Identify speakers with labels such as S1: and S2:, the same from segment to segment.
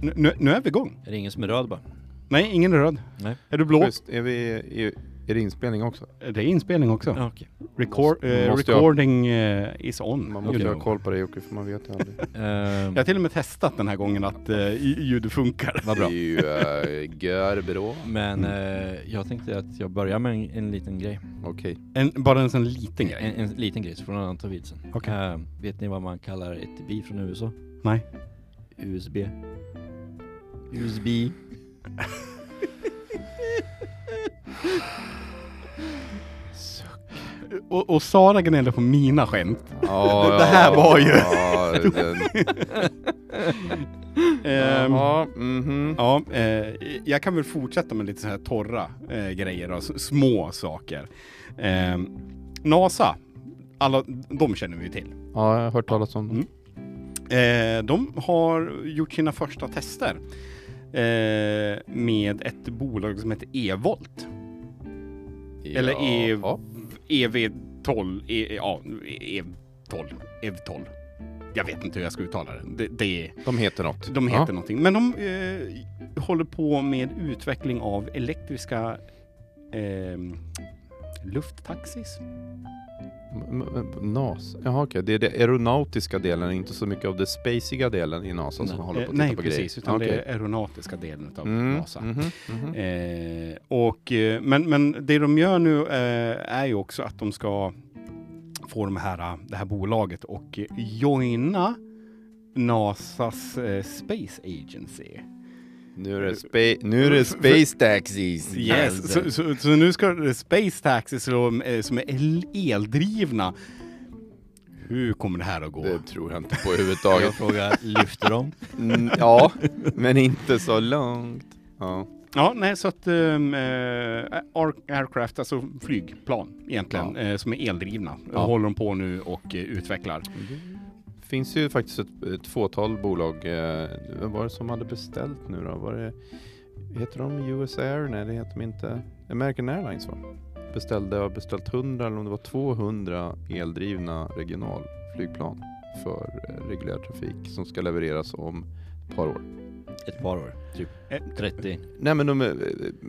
S1: Nu, nu, nu är vi igång.
S2: Är det ingen som är röd bara?
S1: Nej, ingen är röd.
S2: Nej.
S1: Är du blå?
S3: Just, är, vi, är, är det inspelning också?
S1: Det är inspelning också.
S2: Ja, okej.
S1: Record, eh,
S3: måste jag-
S1: recording eh, is on.
S3: Man måste
S1: Ljud.
S3: ha koll på det Jocke, för man vet ju aldrig.
S2: Ehm,
S1: Jag har till och med testat den här gången att eh, i- ljud funkar.
S2: Vad bra.
S3: Det är ju äh, görbra.
S1: Mm.
S2: Men eh, jag tänkte att jag börjar med en, en liten grej.
S3: Okej.
S1: En, bara en sån liten grej.
S2: En, en liten grej, så får någon annan ta vid sen.
S1: Okej.
S2: Ehm, vet ni vad man kallar ett bi från USA?
S1: Nej.
S2: USB. USB.
S1: Och, och Sara gnällde på mina skämt.
S3: Ja,
S1: Det här
S3: ja,
S1: var ju-
S3: Ja, den,
S1: Ehm,
S3: ja, mhm.
S1: Ja, eh, jag kan väl fortsätta med lite så här torra eh, grejer och s- små saker. Eh, NASA, alla, de känner vi ju till.
S3: ja, jag har hört talas om
S1: Mm. Eh, de har gjort sina första tester eh, med ett bolag som heter Evolt. Eller är-
S3: Ja.
S1: EV12, e, ja, EV12, EV12. Jag vet inte hur jag ska uttala det. det, det
S3: De heter något.
S1: De heter
S3: ja.
S1: någonting. Men de eh, håller på med utveckling av elektriska ehm, lufttaxis.
S3: M- m- NAS. Jaha, okej. Det är den aeronautiska delen, inte så mycket av den spaciga delen i NASA som
S2: Nej.
S3: håller
S1: Eh,
S3: på att titta
S1: nej,
S3: på
S1: precis.
S3: grejer.
S1: Utan
S3: Okej.
S1: det är aeronautiska delen av
S3: Mm,
S1: NASA.
S3: mhm, mhm.
S1: Eh, och, eh, men, men det de gör nu eh, är ju också att de ska få de här, eh, det här bolaget och eh, joina NASAs eh, Space Agency.
S3: Nu är det, spa- nu är det space taxis.
S1: Yes, så, så, så nu ska det Space Taxis som, eh, som är el- eldrivna. Hur kommer det här att gå?
S3: Det tror jag inte på
S2: Jag
S3: överhuvudtaget.
S2: frågar, lyfter de?
S3: Mm, ja, men inte så långt. Ja.
S1: Ja, nej, så att ehm, eh, air- aircraft, alltså flygplan egentligen, eh, som är eldrivna,
S3: Ja.
S1: håller de på nu och eh, utvecklar.
S3: Det finns ju faktiskt ett, ett fåtal bolag. Eh, vem var det som hade beställt nu då? Var det, heter de US Air? Nej, det heter de inte. American Airlines va? Beställde, har beställt 100 eller om det var 200 eldrivna regionalflygplan för eh, reguljär trafik som ska levereras om ett par år.
S2: Ett par år, typ
S1: Eh,
S2: 30.
S3: Nej men de, eh,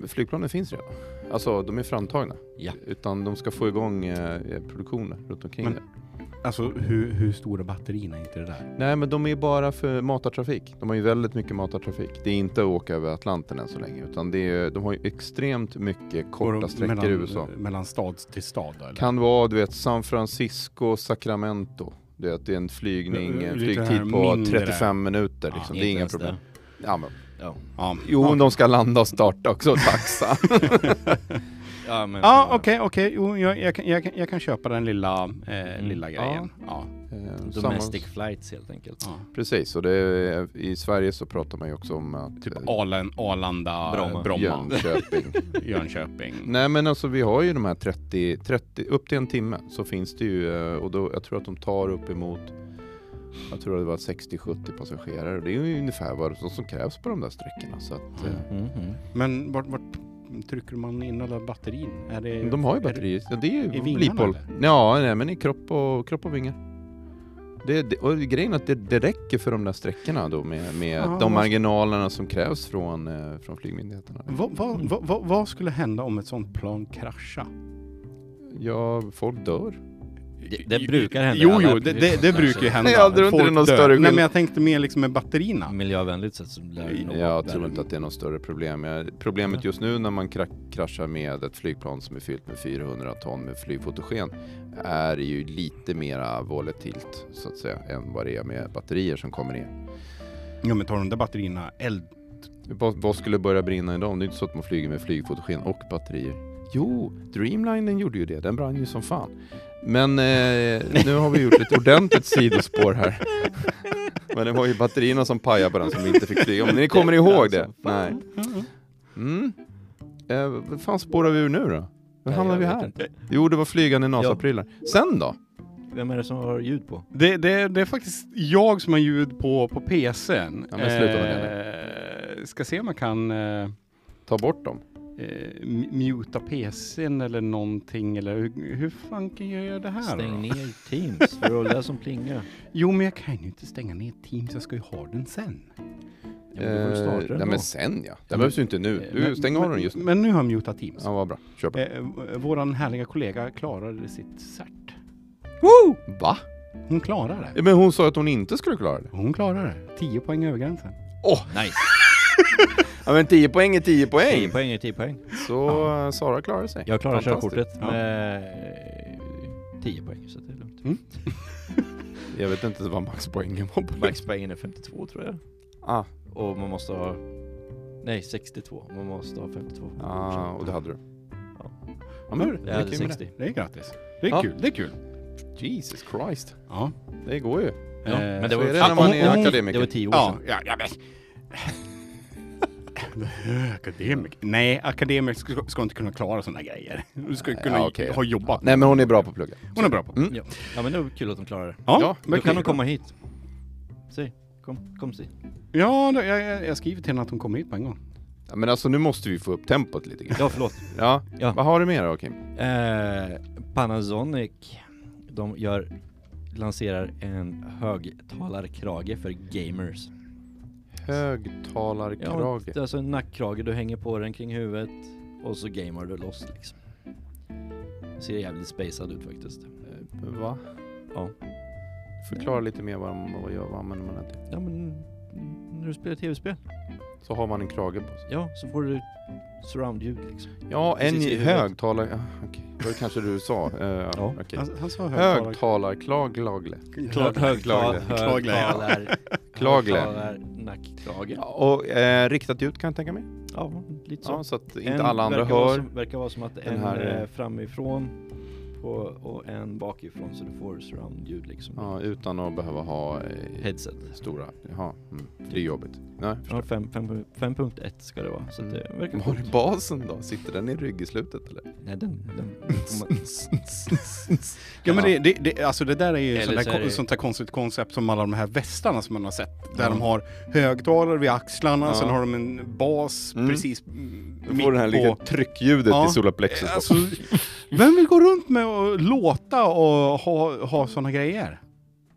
S3: flygplanen finns redan. Alltså de är framtagna.
S2: Ja.
S3: Utan de ska få igång eh, produktionen runt omkring
S1: Men-
S3: det.
S1: Alltså hur, hur stora batterierna är inte det där?
S3: Nej, men de är bara för matartrafik. De har ju väldigt mycket matartrafik. Det är inte att åka över Atlanten än så länge, utan det är, de har ju extremt mycket
S1: Går de
S3: korta sträckor
S1: mellan, eh,
S3: i USA.
S1: Mellan stad till stad då, eller?
S3: Kan vara, du vet, San Francisco, Sacramento. Du vet, det är en flygning,
S1: Eh, eh,
S3: en
S1: lite här
S3: flygtid på
S1: mindre.
S3: 35 minuter. Liksom. det är
S2: Inte
S3: inga
S2: ens
S3: problem.
S2: det.
S3: Ja, men,
S2: Ja.
S1: Ja,
S3: jo,
S1: ja.
S3: de ska landa och starta också, taxa.
S2: Ja, men
S1: Ja, okej, okej. Jo, jag, jag, kan- jag, kan- jag kan köpa den lilla, eh,
S2: Mm.
S1: lilla grejen. Ja.
S3: Eh,
S2: Domestic
S3: samma-
S2: flights helt enkelt.
S1: Ja.
S3: Precis, och det är, i Sverige så pratar man ju också om att...
S1: Typ
S3: eh,
S1: Alen, Arlanda, Bromma,
S2: Bromma.
S3: Jönköping.
S1: Jönköping.
S3: Nej men alltså vi har ju de här 30, 30 upp till en timme så finns det ju eh, och då, jag tror att de tar upp emot jag tror att det var 60-70 passagerare och det är ju ungefär vad som, som krävs på de där sträckorna. Så att, eh,
S2: Mhm.
S1: Men vart, vart trycker man in alla batterin? Är det,
S3: de har ju
S1: Mm. är
S3: batterier. Ja, det är
S1: i
S3: ju
S1: vingarna,
S3: liphåll.
S1: eller?
S3: Ja, nej, men i kropp och, kropp och vingar. Det, det, och grejen är att det, det räcker för de där sträckorna då med, med
S1: Ja,
S3: de
S1: måste-
S3: marginalerna som krävs från, eh, från flygmyndigheterna.
S1: det- Vad, vad, vad, vad, vad skulle hända om ett sånt plan kraschar?
S3: Ja, folk dör.
S2: Det- det brukar hända i
S1: Jo,
S2: alla Alltså.
S1: jo, det, det, det
S2: flygplan,
S1: brukar ju
S2: så-
S1: hända.
S3: Nej, jag tror inte
S1: Folk
S3: det är någon
S1: dör.
S3: större
S1: Nej,
S3: skillnad.
S1: men jag tänkte mer liksom med batterierna.
S2: Miljövänligt sätt så lär det nog
S3: Jag
S2: vara
S3: tror
S2: värre.
S3: inte att det är något större problem. Jag- Problemet just nu när man kra- kraschar med ett flygplan som är fyllt med 400 ton med flygfotogen är ju lite mera volatilt så att säga än vad det är med batterier som kommer ner.
S1: Ja, men tar de där batterierna eld?
S3: Vad, vad skulle börja brinna idag? Det är inte så att man flyger med flygfotogen och batterier. Jo, Dreamlinen gjorde ju det. Den brann ju som fan. Men eh, nu har vi gjort ett ordentligt sidospår här. Men det var ju batterierna som pajade på den som inte fick flyga. Om ni kommer ihåg
S1: alltså.
S3: det? Nej. Mm. Eh, vad fan spårar vi ur nu då? Hur
S2: Nej,
S3: hamnar
S2: jag
S3: vi
S2: vet
S3: här?
S2: inte.
S3: Jo, det var flygande NASA-prylar. Sen då?
S2: Vem är det som har ljud på?
S1: Det, det, det är faktiskt jag som har ljud på, på PCn.
S3: Ja, men sluta med
S1: eh, Ska se om man kan... Eh,
S3: Ta bort dem.
S1: eh, m- muta PCn eller någonting eller hur, hur fanken gör jag det här då?
S2: Stäng ner Teams, för det var det där som plingade.
S1: Jo men jag kan ju inte stänga ner Teams, jag ska ju ha den sen.
S2: Ja, men då får du
S3: Eh,
S2: starta den
S3: nej,
S2: då.
S3: men sen ja. Den behövs ju inte nu.
S2: Eh,
S3: Du, stäng av den just nu.
S1: Men nu har jag mutat Teams.
S3: Ja, vad bra. Kör på.
S1: Eh, v- våran härliga kollega klarade sitt cert.
S3: Va?
S1: Hon klarade det.
S3: Eh, Men hon sa att hon inte skulle klara det.
S1: Hon klarade det. 10 poäng över gränsen.
S3: Åh!
S2: Nice.
S3: Ja men 10 poäng är 10
S2: 10
S3: poäng!
S2: poäng är 10 poäng.
S3: Så eh, Sara klarar sig.
S2: Jag klarar
S3: Fantastiskt.
S2: körkortet
S1: Ja.
S2: med eh, 10 poäng så det är lugnt.
S3: Jag vet inte vad maxpoängen var på det.
S2: Maxpoängen är 52 tror jag.
S3: Ah,
S2: Och man måste ha... Nej, 62. Man måste ha 52.
S3: ah, och det hade du.
S2: Ja.
S3: Ja men
S2: Jag
S3: det är
S2: hade
S3: kul med
S2: 60.
S1: Det är grattis. Det är
S3: Ja.
S1: kul. Det är kul.
S3: det. Jesus Christ.
S1: Ja.
S3: Det går ju.
S2: Ja,
S1: Eh,
S2: men
S3: så
S2: det var
S3: är det
S2: fan-
S3: när man
S2: om-
S3: är
S2: om-
S3: akademiker.
S2: Det var 10 år
S1: Ja,
S2: sedan.
S1: ja, ja men... Akademiker? Nej, akademiker ska, ska inte kunna klara sådana grejer. Du ska kunna
S3: Ja, okej.
S1: ha jobbat.
S3: Nej men hon är bra på att plugga.
S1: Hon är bra på.
S3: Mm.
S2: Ja. ja, men det var kul att de klarade det.
S1: Ja,
S3: Ja,
S1: men
S2: Då kan
S1: kul.
S2: de komma hit. Se, kom, kom se.
S1: Ja, då- jag, jag, jag skriver till henne att hon kommer hit på en gång.
S3: Ja, men alltså nu måste vi få upp tempot lite grann.
S2: Ja, förlåt.
S3: Ja.
S2: Ja.
S3: Vad har du mer då Kim?
S2: Eh, Panasonic, de gör, lanserar en högtalarkrage för gamers.
S3: Högtalarkrage.
S2: det är alltså en nackkrage, du hänger på den kring huvudet och så gamer du loss liksom. Ser jävligt spacad ut faktiskt. Eh,
S3: Va?
S2: Ja.
S3: Förklara lite mer vad, de- vad, gör, vad använder man den till.
S2: Ja men, när du spelar tv-spel,
S3: Så har man en krage på sig.
S2: ja så får du surround-ljud liksom.
S3: Ja, en
S2: Precis i huvudet.
S3: högtalare... Ah, Okej, det var kanske du sa. Eh,
S2: Ja.
S3: okej.
S1: Han, han sa högtalar-
S3: Högtalarklagle.
S1: Klart.
S2: Högtal-
S3: Klagle.
S1: Klagle, ja.
S2: Högtalar...
S3: Klagle.
S2: högtalar- Nackkrage.
S3: Ja, Och eh, riktat ut kan jag tänka mig.
S2: Ja, lite så.
S3: Ja, så att inte
S2: En
S3: alla andra
S2: verkar vara
S3: hör.
S2: Som, verkar vara som att
S3: Den
S2: en
S3: här, eh,
S2: är framifrån på, och en bakifrån så du får surround-ljud liksom.
S3: Ja, utan att behöva ha eh,
S2: Headset.
S3: stora. Jaha, mm. det är jobbigt. Nej,
S2: Ja, fem- fem- 5.1 ska det vara. Så
S1: Mm.
S2: att det verkar
S3: Var
S2: coolt.
S3: är basen då? Sitter den i rygg i slutet eller?
S2: Nej, den, den får man-
S1: Ja, men det, det, det, alltså det där är ju
S2: Eller
S1: sånt där,
S2: så är
S1: kon-
S2: det-
S1: sånt där konstigt koncept som alla de här västarna som man har sett. Där
S3: Ja.
S1: de har högtalare vid axlarna,
S3: Ja.
S1: sen har de en bas
S3: Mm.
S1: precis mm,
S3: Du får det här lilla tryckljudet
S1: Ja.
S3: i solaplexus. då.
S1: Alltså, vem vill gå runt med och låta och ha, ha sådana grejer?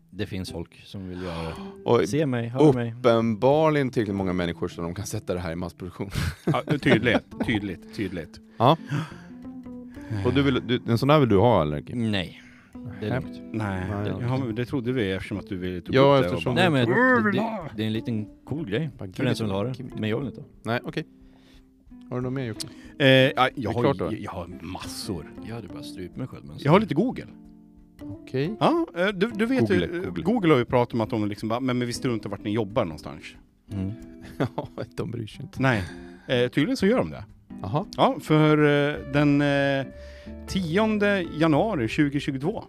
S2: det finns folk som vill göra det.
S3: Och
S2: Se mig, hör mig.
S3: uppenbarligen tillräckligt många människor så de kan sätta det här i massproduktion.
S1: Ja, tydligt, tydligt, tydligt.
S3: Ja. Och du vill, du, en sån här vill du ha eller? Kim?
S2: Nej, det är
S3: Nej.
S2: lugnt.
S1: Nej,
S3: Nej,
S1: det,
S3: okej.
S1: ja, men det trodde vi eftersom att du ville ta
S3: Ja,
S1: upp det. och
S3: eftersom-
S1: bara-
S2: Nej men det,
S1: vill
S2: det, det är en liten cool grej
S3: Bara
S2: för
S3: give
S2: den
S3: it
S2: som
S3: to
S2: vill ha
S3: me,
S2: det.
S3: give it to
S2: Men jag vill inte ha
S3: Nej, okej. Har du något mer Jocke?
S1: Eh, ja, jag,
S3: Mm. klart då.
S1: har, jag har massor.
S2: det. Jag hade bara strypt mig själv. Men
S1: Jag har lite Google.
S3: Okej.
S1: Ja, eh, du, du vet ju,
S3: Google, Google.
S1: Google. har ju pratat om att de liksom bara, men, men vi struntar vart ni jobbar någonstans.
S2: Mm.
S3: Ja, de bryr sig inte.
S1: Nej, eh, tydligen så gör de det.
S3: Jaha.
S1: Ja, för eh, den eh, 10 januari 2022,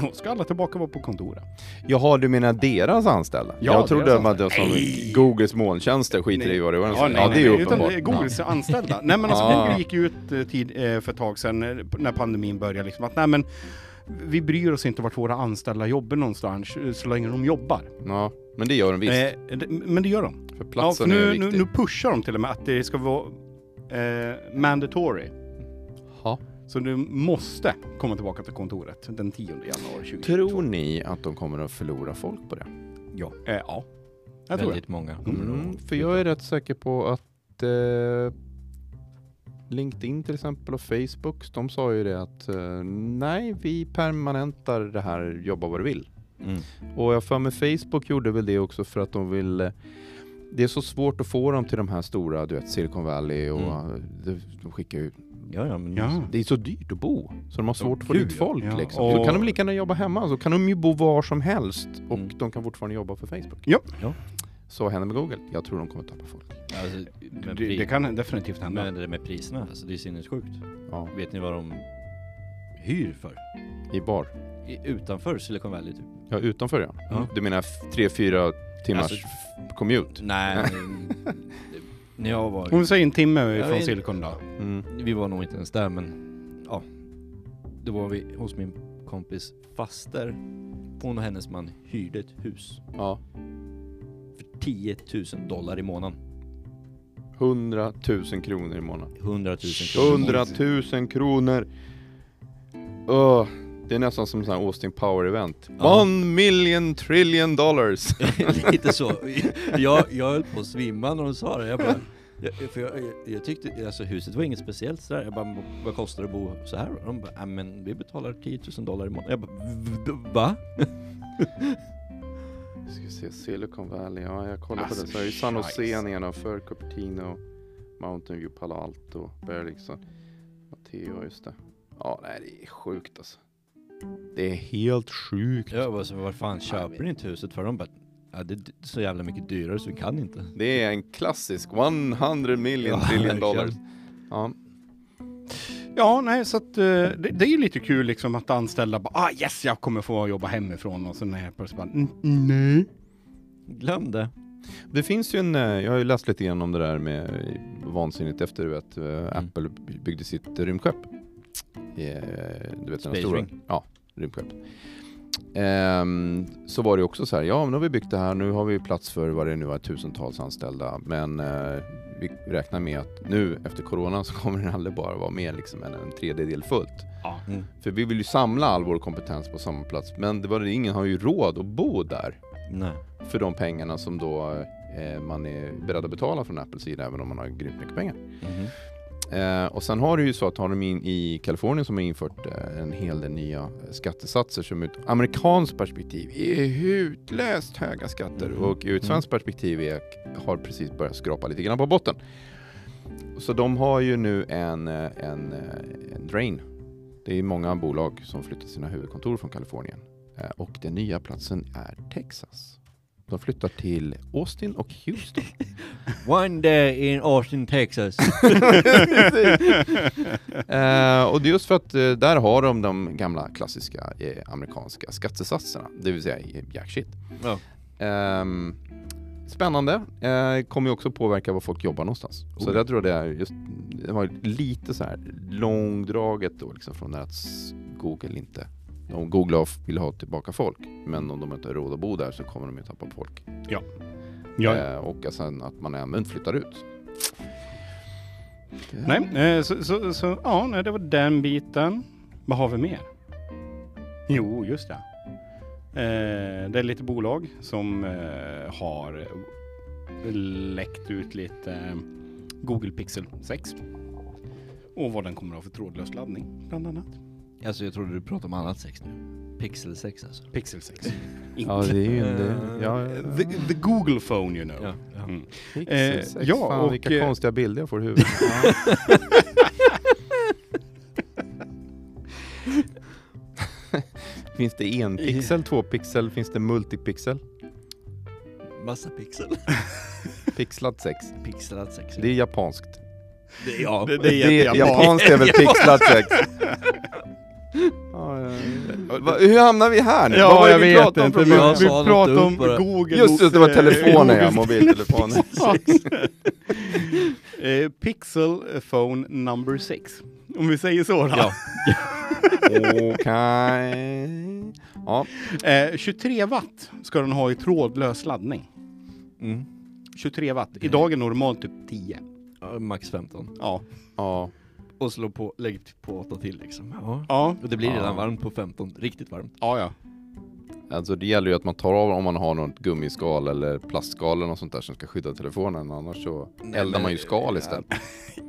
S1: då ska alla tillbaka vara på kontoret.
S3: Jaha, du menar deras anställda?
S1: Ja,
S3: jag trodde
S1: deras
S3: att det var som
S1: Nej.
S3: Googles molntjänster skiter
S1: Nej.
S3: i vad det var.
S1: Ja, nej,
S3: ja, det är
S1: nej, utan
S3: uppenbart.
S1: det är Googles anställda. nej men alltså
S3: Ja.
S1: Google gick ju ut eh, tid, eh, för ett tag sedan eh, p- när pandemin började liksom att nej men vi bryr oss inte vart våra anställda jobbar någonstans eh, så länge de jobbar.
S3: Ja, men det gör de visst.
S1: Eh, d- men det gör de.
S3: för
S1: Ja, för
S3: platsen är
S1: nu,
S3: viktig.
S1: nu, nu pushar de till och med att det ska vara eh, mandatory.
S3: Ja.
S1: Så du måste komma tillbaka till kontoret den 10 januari 2022.
S3: Tror ni att de kommer att förlora folk på det?
S1: Eh, ja. Jag tror det.
S2: Väldigt många kommer
S3: Mm,
S2: att-
S3: för jag är rätt säker på att eh, LinkedIn till exempel och Facebook, de sa ju det att eh, nej, vi permanentar det här jobba vad du vill.
S2: Mm.
S3: Och jag har för mig Facebook gjorde väl det också för att de vill eh, det är så svårt att få dem till de här stora, du vet Silicon Valley och
S2: Mm.
S3: eh, de, de skickar ju
S2: Ja, ja, men
S1: Ja.
S3: Det är så dyrt att bo, så de har svårt att få
S2: gud,
S3: dit
S2: ja.
S3: folk
S1: Ja,
S3: liksom.
S1: och-
S3: Så kan de lika gärna jobba hemma, så kan de ju bo var som helst och
S2: Mm.
S3: de kan fortfarande jobba för Facebook.
S1: Ja.
S2: Ja.
S3: Så händer med Google. Jag tror de kommer tappa folk.
S2: Alltså, men
S1: Det,
S2: pri-
S1: det kan definitivt hända.
S2: Men det där med priserna, alltså det är sinnessjukt.
S3: Ja.
S2: Vet ni vad de hyr för?
S3: I bar.
S2: I, utanför Silicon Valley typ?
S3: Ja, utanför ja.
S2: Ja.
S3: Du menar f- tre, fyra timmars
S2: Alltså-
S3: f- commute?
S2: Nej, när jag var...
S1: Om vi säger en timme
S2: Jag
S1: från
S2: vet-
S1: Silicon då.
S3: Mm.
S2: Vi var nog inte ens där men ja. Då var vi hos min kompis faster. Hon och hennes man hyrde ett hus
S3: Ja.
S2: för 10 000 dollar i månaden.
S3: 100 000 kronor i månaden.
S2: 100 000 kronor. i månaden.
S3: 100 000 kronor! Öh, Det är nästan som sån här Austin Power-event.
S2: Ja.
S3: One million trillion dollars!
S2: Lite så. Jag, jag höll på att svimma när de sa det. Jag, bara, jag, för jag, jag- jag tyckte, alltså huset var inget speciellt sådär. Jag bara, vad kostar det att bo så här? Och de bara, "Ja, men vi betalar 10 000 dollar i månaden. Jag bara, "V- v- va?
S3: ska vi se, Silicon Valley. Ja, jag kollar
S1: Alltså,
S3: på det. Så är ju San Jose
S1: scheisse.
S3: nedanför, Cupertino, Mountain View, Palo Alto, Bear liksom. Matteo, just det. Ja, nej, det är sjukt alltså. Det är helt sjukt.
S2: Jag bara, så, vad fan köper ni inte huset för? De bara, ja, det är d- så jävla mycket dyrare så vi kan inte.
S3: Det är en klassisk 100 million
S2: Ja,
S3: trillion
S2: verkligen.
S3: dollars. Ja,
S1: Ja, nej, så att eh, det, det är ju lite kul liksom att anställda bara ah yes, jag kommer få jobba hemifrån och så när jag plötsligt bara "Mm, nej.
S2: Glöm det.
S3: Det finns ju en, eh, jag har ju läst lite grann om det där med eh, vansinnigt efter att eh, Apple byggde sitt rymdskepp. Eh, Du vet den
S2: Space
S3: stora?
S2: Ring.
S3: Ja, rymdskepp. Ehm, så var det ju också så här, ja men nu har vi byggt det här, nu har vi plats för vad det nu är, tusentals anställda. Men eh, vi räknar med att nu efter corona så kommer det aldrig bara vara mer liksom än en tredjedel fullt.
S1: Ja.
S2: Mm.
S3: För vi vill ju samla all vår kompetens på samma plats, men det var det, ingen har ju råd att bo där
S2: Mm. Nej.
S3: för de pengarna som då eh, man är beredd att betala från Apples sida även om man har grymt mycket pengar.
S2: Mhm.
S3: Eh, och sen har du ju så att har de in i Kalifornien som har infört eh, en hel del nya eh, skattesatser som ur ett amerikanskt perspektiv är hutlöst höga skatter
S2: Mhm.
S3: och ur ett svenskt perspektiv är, har precis börjat skrapa lite grann på botten. Så de har ju nu en, eh, en, eh, en drain. Det är många bolag som flyttar sina huvudkontor från Kalifornien Eh, och den nya platsen är Texas. De flyttar till Austin och Houston.
S2: One day in Austin, Texas.
S3: Eh, och det är just för att eh, där har de de gamla klassiska eh, amerikanska skattesatserna, det vill säga eh, jack shit.
S2: Ja.
S3: Ehm, spännande, eh, kommer ju också påverka var folk jobbar någonstans. Så
S2: Oh.
S3: där tror jag det är just, det var lite så här långdraget då liksom från det här att s- Google inte om Google har- vill ha tillbaka folk, men om de inte har råd att bo där så kommer de ju tappa folk.
S1: Ja,
S3: Eh, och sen att man även flyttar ut. Det-
S1: Nej, eh, så, så, så ja, nej, det var den biten. Vad har vi mer? Jo, just det. Eh, det är lite bolag som eh, har läckt ut lite eh, Google Pixel 6. Och vad den kommer att ha för trådlös laddning, bland annat.
S2: alltså jag trodde du pratade om annat sex nu. Pixel 6 alltså.
S1: Pixel 6.
S3: Ja, det är ju en...
S2: Eh,
S3: Ja,
S1: the, the Google phone, you know.
S2: Ja. ja.
S1: Mm.
S3: Pixel
S1: Eh,
S3: sex.
S1: ja,
S3: Fan,
S1: och,
S3: vilka
S1: eh,
S3: konstiga bilder jag får i huvudet. finns det en pixel, två pixel, finns det multipixel?
S2: Massa pixel.
S3: Pixlat sex.
S2: Pixlat sex.
S3: Det är japanskt.
S2: det, ja,
S1: det- det är jättejapanskt.
S3: japanskt är väl pixlat sex? Ja, ja, ja. Va, hur hamnar vi här nu? Vad var det vi pratade om från
S1: Vi,
S2: Jag
S3: början?
S1: vi
S2: sa något
S1: pratade
S2: dumt
S1: om
S2: bara.
S1: Google.
S3: Just det, det var
S1: eh,
S3: telefoner ja,
S1: Google-
S3: mobiltelefoner.
S1: Eh, Pixel phone number 6. Om vi säger så då.
S2: Ja.
S3: Okej. Ja,
S1: Eh, 23 watt ska den ha i trådlös laddning.
S2: Mm.
S1: 23 watt. Idag är normalt typ 10.
S2: Ja, max 15.
S1: Ja.
S3: ja.
S2: Och slå på, lägg på 8 till liksom. Ja.
S1: Ja.
S2: Och det blir
S3: Ja.
S2: redan varmt på 15. Riktigt varmt.
S1: Ja, ja.
S3: Alltså det gäller ju att man tar av om man har något gummiskal eller plastskal eller något sånt där som ska skydda telefonen annars så
S2: Nej,
S3: eldar
S2: men-
S3: man ju skal istället.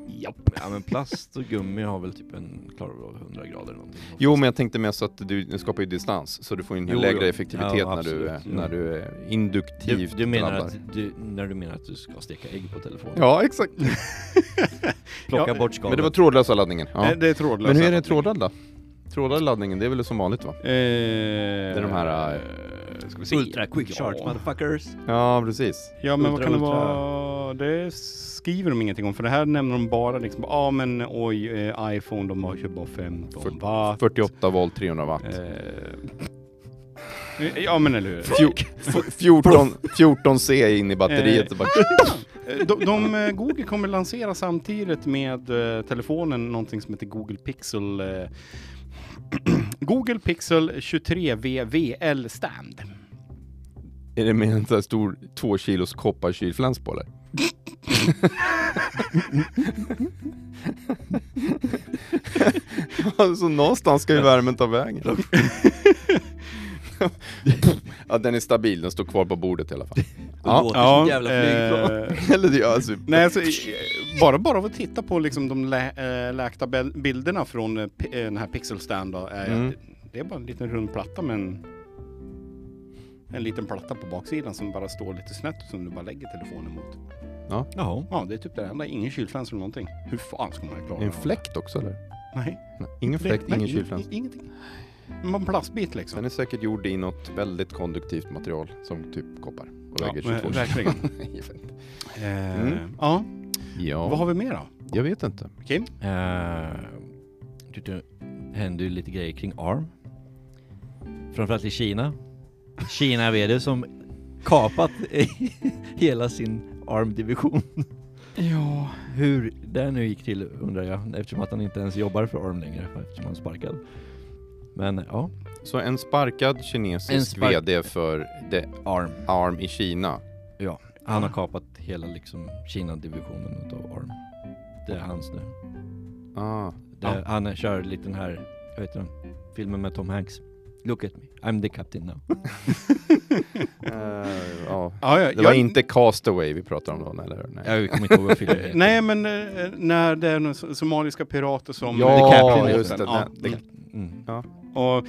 S1: Japp.
S2: Ja men plast och gummi har väl typ en, klarar av 100 grader eller någonting.
S3: Jo men jag tänkte mer så att du, du skapar ju distans så du får ju en
S2: Jo,
S3: lägre
S2: jo.
S3: effektivitet
S2: Ja,
S3: när, du,
S2: absolut. Mm.
S3: när du eh,
S2: du,
S3: induktivt
S2: du menar
S3: laddar.
S2: att du, när du menar att du ska steka ägg på telefonen?
S3: Ja exakt,
S2: Mm. Plocka
S1: Ja,
S2: bort skalet.
S3: men det var trådlösa laddningen. Ja.
S1: Eh, Det är trådlös.
S3: Men hur är det trådad då? Trådad laddningen, det är väl som vanligt va?
S1: Eh, det
S3: är de här,
S1: ska vi se.
S2: Ultra quick charge
S1: Ja.
S2: motherfuckers.
S3: Ja precis.
S1: Ja men vad kan
S2: Ultra,
S1: det
S2: ultra.
S1: vara? Det skriver de ingenting om för det här nämner de bara liksom, ja ah, men oj, eh, iPhone de har ju bara 15
S3: Fyrt-
S1: watt.
S3: 48 volt, 300 watt.
S1: Eh, ja men eller hur?
S3: Fjo- f- 14, 14 C in i batteriet.
S1: Eh.
S3: Bara,
S1: Eh, De, de, eh, Google kommer lansera samtidigt med eh, telefonen någonting som heter Google Pixel eh, Google Pixel 23VVL Stand.
S3: är det med en sån här stor 2 kilos kopparkylfläns på eller? Alltså någonstans ska ju värmen ta vägen. ja, den är stabil, den står kvar på bordet i alla fall.
S2: Det
S3: Ja.
S2: låter som ett jävla flygplan.
S1: eh,
S3: Eller det, alltså,
S1: Nej, alltså, eh, bara, bara av att titta på liksom de lä eh, läkta bel- bilderna från eh, pi- eh, den här Pixel Stand då, är
S3: Mm.
S1: att det, det är bara en liten rund platta med en, en liten platta på baksidan som bara står lite snett och som du bara lägger telefonen mot.
S2: Jaha.
S1: Ja, det är typ det enda. Ingen kylfläns eller någonting. Hur fan ska man klara
S3: en
S1: det?
S3: fläkt också eller?
S1: Nej.
S3: Nej, ingen
S1: Nej,
S3: fläkt,
S1: nej,
S3: ingen kylfläns.
S1: in- Ingenting. Bara en plastbit liksom.
S3: Den är säkert gjord i något väldigt konduktivt material som typ koppar och väger
S1: men
S3: 22
S1: verkligen.
S3: Jag vet inte.
S1: Eh,
S3: Mm.
S1: Ja, vad
S3: Ja,
S1: har vi mer då?
S3: jag vet inte.
S1: Kim?
S2: Eh, du- du- Det hände ju lite grejer kring ARM. Framförallt i Kina. Kina är det som kapat hela sin ARM-division.
S1: Ja.
S2: Hur det nu gick till undrar jag eftersom att han inte ens jobbar för ARM längre för- eftersom han är sparkad. Men ja,
S3: Så en sparkad kinesisk
S2: En spark-
S3: VD för The
S2: ARM.
S3: Arm i Kina.
S2: Ja, han har kapat hela liksom Kina-divisionen utav ARM. Det är hans nu.
S3: Ah,
S2: Det, Han kör lite den här, jag vet inte, filmen med Tom Hanks. Look at me, I'm the captain now.
S3: eh, ja.
S1: ja, ja
S3: Det var inte Castaway vi pratade om då, eller? Nej.
S2: Jag kommer inte ihåg vad filmen heter.
S1: Nej, men eh, när det är några so- somaliska pirater som...
S3: Ja,
S1: The Captain
S3: just
S1: heter
S3: det.
S1: den. Ja.
S3: Nej, The
S1: Mm.
S2: Mm.
S1: Och,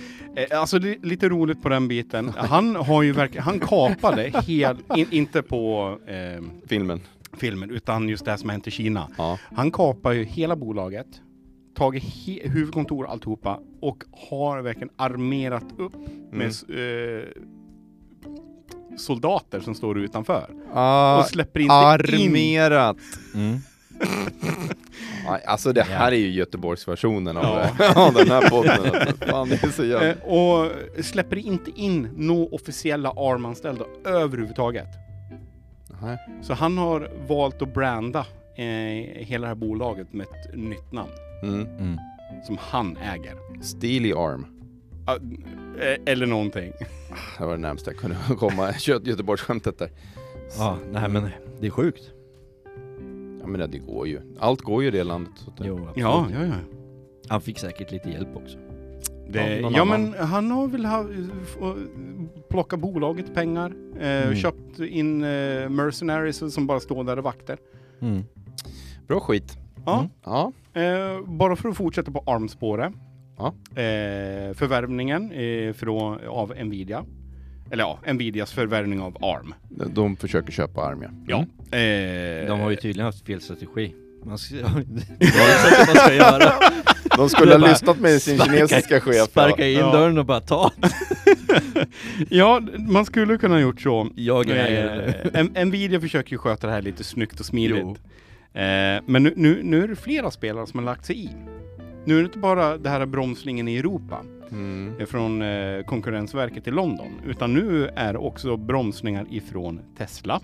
S1: eh, alltså det är lite roligt på den biten. Han har ju verkligen, han kapade helt, in, inte på eh,
S3: Filmen.
S1: filmen, utan just det här som har hänt i Kina.
S3: Ja.
S1: Han kapar ju hela bolaget, tagit he, huvudkontor och alltihopa och har verkligen armerat upp med
S3: Mm.
S1: s- eh, soldater som står utanför.
S3: Ah,
S1: och släpper inte in.
S3: armerat!
S2: Mm.
S3: Aj, Alltså det här är ju Göteborgsversionen av,
S1: Ja.
S3: av den här podden. Alltså, Fan, det är så jävla...
S1: Eh, och släpper inte in några officiella ARM-anställda överhuvudtaget.
S3: Nej.
S1: Så han har valt att branda eh, hela det här bolaget med ett nytt namn
S3: Mm.
S2: Mm.
S1: som han äger.
S3: Steely Arm.
S1: Ah, eh, eller någonting.
S3: Det var det närmsta jag kunde komma. Kött Göteborgsskämtet där.
S2: Ja, nej men det är sjukt.
S3: Ja men det går ju. Allt går ju i det landet. Så att,
S2: Jo, absolut.
S1: Ja, ja, ja.
S2: Han fick säkert lite hjälp också.
S1: Det,
S3: Ja,
S1: ja,
S3: någon
S1: men han har väl ha, f- plockat bolaget pengar, eh,
S2: Mm.
S1: köpt in eh, mercenaries som bara står där och vakter.
S2: Mm.
S3: Bra skit.
S1: Ja.
S2: Mm.
S3: Ja.
S1: Eh, bara för att fortsätta på armspåret.
S3: Ja.
S1: Eh, förvärvningen eh, från, av Nvidia. Eller ja, Nvidias förvärvning av ARM.
S3: De försöker köpa arm ja. Mm.
S1: Eh,
S2: De har ju tydligen haft fel strategi. Man ska, det var ju så att man ska göra.
S3: De skulle
S2: Det
S3: ha
S2: är
S3: lyssnat med sin
S2: sparka-
S3: kinesiska chef. ja.
S2: Sparka in
S1: Ja.
S2: dörren och bara ta.
S1: Ja, man skulle kunna ha gjort så.
S2: Jag är ägare nu.
S1: Eh, en- Nvidia försöker ju sköta det här lite snyggt och smidigt.
S2: Jo.
S1: Eh, men nu, nu, nu är det flera spelare som har lagt sig i. Nu är det inte bara det här bromsningen i Europa
S3: Mm.
S1: eh, från eh, Konkurrensverket i London, utan nu är det också bromsningar ifrån Tesla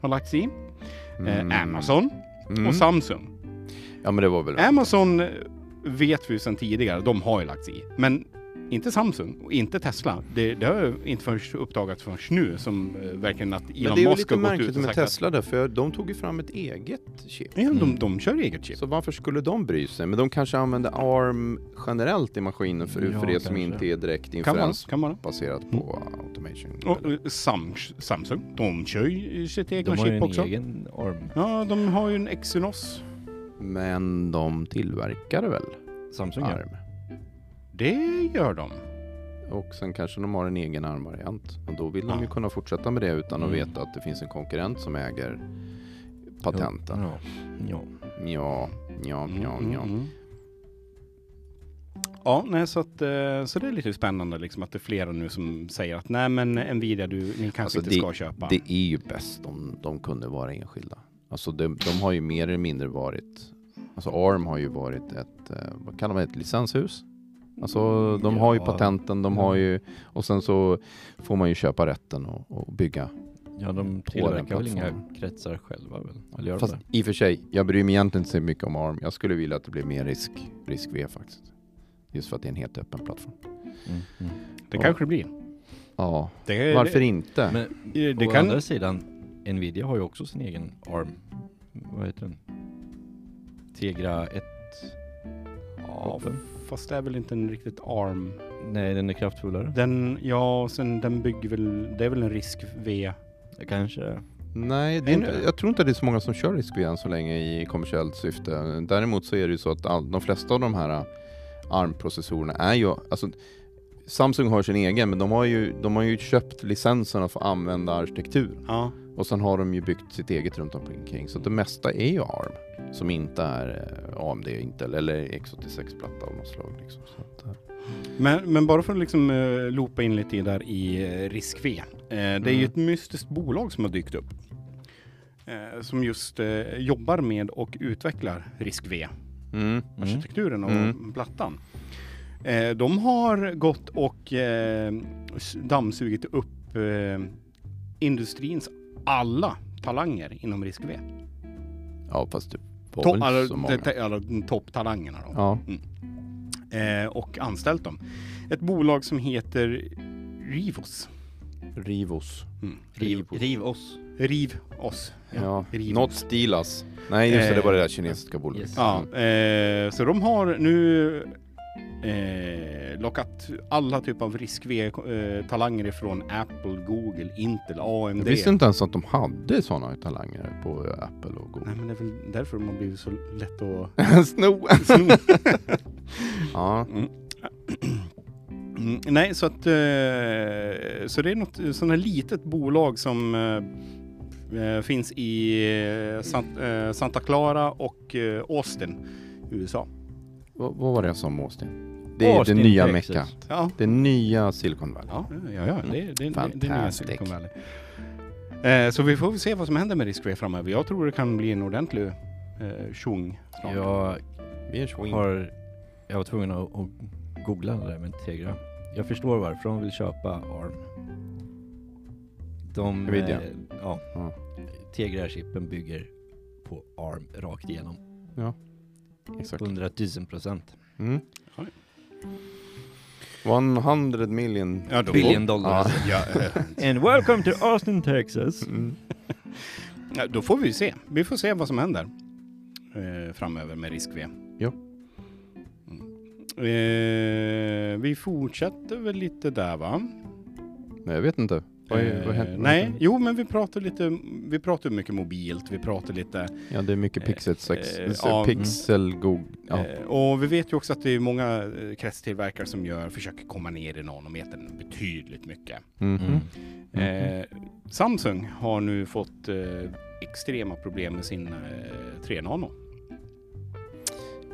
S1: har lagt sig i, eh,
S2: Mm.
S1: Amazon
S3: Mm.
S1: och Samsung.
S3: Ja men det var väl...
S1: Amazon eh, vet vi ju sedan tidigare, de har ju lagt sig i, men inte Samsung och inte Tesla. Det, det har ju inte först uppdagats förrän nu som eh, verkligen att
S3: men
S1: Elon
S3: det är ju
S1: Musk
S3: lite
S1: har gått ut
S3: märkligt
S1: och
S3: med
S1: sagt att
S3: Tesla där, för de tog ju fram ett eget chip.
S1: Ja, de,
S2: Mm.
S1: de kör eget chip.
S3: Så varför skulle de bry sig? Men de kanske använder ARM generellt i maskinen för,
S2: Ja,
S3: för det som
S2: kanske.
S3: inte är direkt
S1: Kan vara.
S3: inferens
S1: Kan vara.
S3: baserat på automation.
S1: Och eh, Sam, Samsung, de kör ju sitt egna
S2: De har ju
S1: chip
S2: en
S1: också.
S2: egen ARM.
S1: Ja, de har ju en Exynos.
S3: Men de tillverkar väl
S2: Samsung ja.
S3: ARM?
S1: Det gör de.
S3: Och sen kanske de har en egen ARM-variant. Och då vill de ju
S1: Ja.
S3: kunna fortsätta med det utan att
S2: Mm.
S3: veta att det finns en konkurrent som äger patenten.
S2: Ja. ja.
S3: Ja, ja, ja,
S1: Mm,
S3: ja.
S1: mm, mm. Ja, nej, så, att, eh, så det är lite spännande liksom att det är flera nu som säger att nej men Nvidia, du, ni kanske
S3: Alltså,
S1: inte
S3: det-
S1: ska köpa.
S3: Det är ju bäst om de kunde vara enskilda. Alltså de, de har ju mer eller mindre varit, alltså ARM har ju varit ett, eh, vad kallar man det, ett licenshus? Alltså de har ju
S2: Ja.
S3: patenten, de har ju, och sen så får man ju köpa rätten och, och bygga.
S2: Ja, de
S3: På den
S2: tillverkar väl inga
S3: plattformen.
S2: kretsar själva väl? Eller gör de
S3: Fast
S2: det?
S3: i och för sig, jag bryr mig egentligen inte så mycket om ARM. Jag skulle vilja att det blev mer risk, risk V faktiskt. Just för att det är en helt öppen plattform.
S2: Mm, mm.
S1: det kanske det blir.
S3: Ja,
S1: Det,
S3: varför inte?
S2: Men
S1: det, det
S2: å
S1: kan...
S2: andra sidan, Nvidia har ju också sin egen ARM. Vad heter den? Tegra 1.
S1: Ja, fast det är väl inte en riktigt ARM.
S2: Nej, den är kraftfullare.
S1: Den, ja, och sen den bygger väl, det är väl en risk V.
S2: Kanske.
S3: Nej, det är,
S1: inte det?
S3: jag tror inte det är så många som kör risk än så länge i kommersiellt syfte. Däremot så är det ju så att all, de flesta av de här ä, ARM-processorerna är ju, alltså Samsung har sin egen, men de har ju, de har ju köpt licenserna för att använda arkitektur.
S1: Ja.
S3: Och sen har de ju byggt sitt eget runt omkring. Så det mesta är ju ARM som inte är eh, AMD, Intel eller X86-platta av något slag. Liksom. Så att, eh,
S1: Men, men bara för att liksom eh, loopa in lite där i eh, risk V. Eh, det är ju
S3: Mm.
S1: ett mystiskt bolag som har dykt upp. Eh, som just eh, jobbar med och utvecklar risk V.
S3: mm.
S2: Mm.
S1: arkitekturen och
S3: Mm.
S1: plattan. Eh, de har gått och eh, s- dammsugit upp eh, industrins alla talanger inom risk V.
S3: Ja, fast det var
S1: To-
S3: väl inte så
S1: alla,
S3: många.
S1: det- te- alla topptalangerna då.
S3: Ja.
S1: Eh, och anställt dem. Ett bolag som heter Rivos.
S3: Rivos.
S1: Mm.
S2: Riv, riv oss.
S1: Riv oss.
S3: Ja.
S1: Rivos.
S3: Not Stilas. Nej, just det, det var det där kinesiska Mm. bolaget.
S2: Yes.
S1: Ja, eh, så de har nu eh, lockat alla typer av risk V-talanger ifrån Apple, Google, Intel, AMD.
S3: Jag visste inte ens att de hade sådana talanger på Apple och
S1: Nej,
S3: Google.
S1: men det är väl därför de har blivit så lätt att
S3: Sno!
S1: sno.
S3: Ja.
S1: Mm, Nej, så att eh, så det är något sånt här litet bolag som eh, eh, finns i eh, Sant, eh, Santa Clara och eh, Austin, USA.
S3: Vad, vad var det jag sa om Austin? Det är
S2: Austin,
S3: det nya
S2: Texas.
S3: Mecka.
S1: Ja,
S3: Det nya Silicon Valley.
S1: Ja, ja, ja. Mm. Det, det, det, det är nya
S3: Fantastic.
S1: Silicon Valley. Eh, så vi får väl se vad som händer med Riskwe framöver. Jag tror det kan bli en ordentlig eh, tjong snart.
S2: Jag
S3: Vi är swing.
S2: har... Jag var tvungen att, att googla det där med Tegra. Jag förstår varför de vill köpa ARM. De...
S3: Nvidia.
S2: eh, ja.
S3: Ja.
S2: Tegra-chippen bygger på ARM rakt igenom.
S3: Exakt.
S2: 100 000 procent.
S3: Mm. 100 million.
S1: Ja, då-
S2: Billion dollar.
S3: Ja.
S1: Ja, eh,
S2: And welcome to Austin, Texas.
S3: Mm.
S1: ja, då får vi se. Vi får se vad som händer eh, framöver med Riskve.
S3: Ja.
S1: Mm. Eh, vi fortsätter väl lite där va?
S3: Nej, jag vet inte. Vad, är,
S1: Eh,
S3: vad händer?
S1: nej, jo men vi pratar lite, vi pratar mycket mobilt, vi pratar lite
S3: Ja, det är mycket pixel sex.
S1: Eh, eh, ja.
S3: Pixel Google. Ja.
S1: Eh, Och vi vet ju också att det är många eh, kretstillverkare som gör, försöker komma ner i nanometern betydligt mycket.
S3: Mhm.
S2: Mm.
S1: Mm. Eh, Samsung har nu fått eh, extrema problem med sin eh, 3 nano.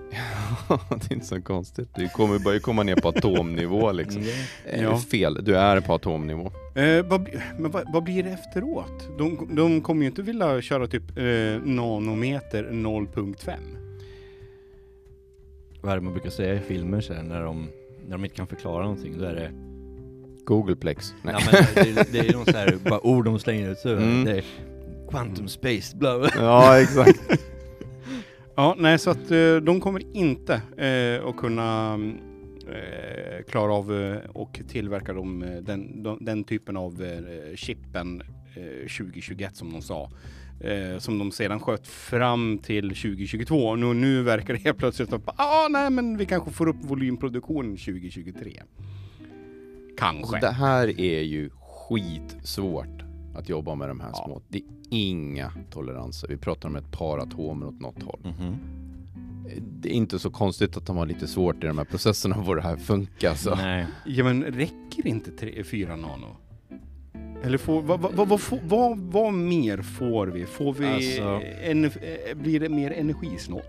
S3: det är inte så konstigt. Du kommer börja komma ner på atomnivå liksom.
S2: Mm.
S3: Eh,
S1: Ja.
S3: Fel, du är på atomnivå.
S1: Eh, vad, bli- men vad, vad blir det efteråt? De, de kommer ju inte vilja köra typ eh, nanometer 0.5.
S2: Vad är det man brukar säga i filmer så här, när de, när de inte kan förklara någonting, då är det...
S3: Googleplex. Nej.
S2: Ja, men det, det är någon så här, bara ord de slänger ut. Så
S3: Mm.
S2: Det är quantum space, bla bla.
S3: Ja, exakt.
S1: Ja, nej, så att eh, de kommer inte eh, att kunna mm, eh, klara av eh, och tillverka de, eh, den, de, den typen av eh, chippen eh, 2021 som de sa. Eh, som de sedan sköt fram till 2022. Nu, nu verkar det helt plötsligt att ah, nej, men vi kanske får upp volymproduktionen 2023.
S3: Alltså,
S1: Kanske.
S3: det här är ju skitsvårt att jobba med de här
S1: Ja.
S3: små. Det är inga toleranser. Vi pratar om ett par atomer åt något håll.
S2: Mhm.
S3: Det är inte så konstigt att de har lite svårt i de här processerna och vad det här funkar. Så.
S2: Nej.
S1: Ja, men räcker inte 4 nano? Eller får, vad, vad, vad, vad, får- vad, vad mer får vi? Får vi
S2: Alltså-
S1: en, eh, blir det mer energisnålt?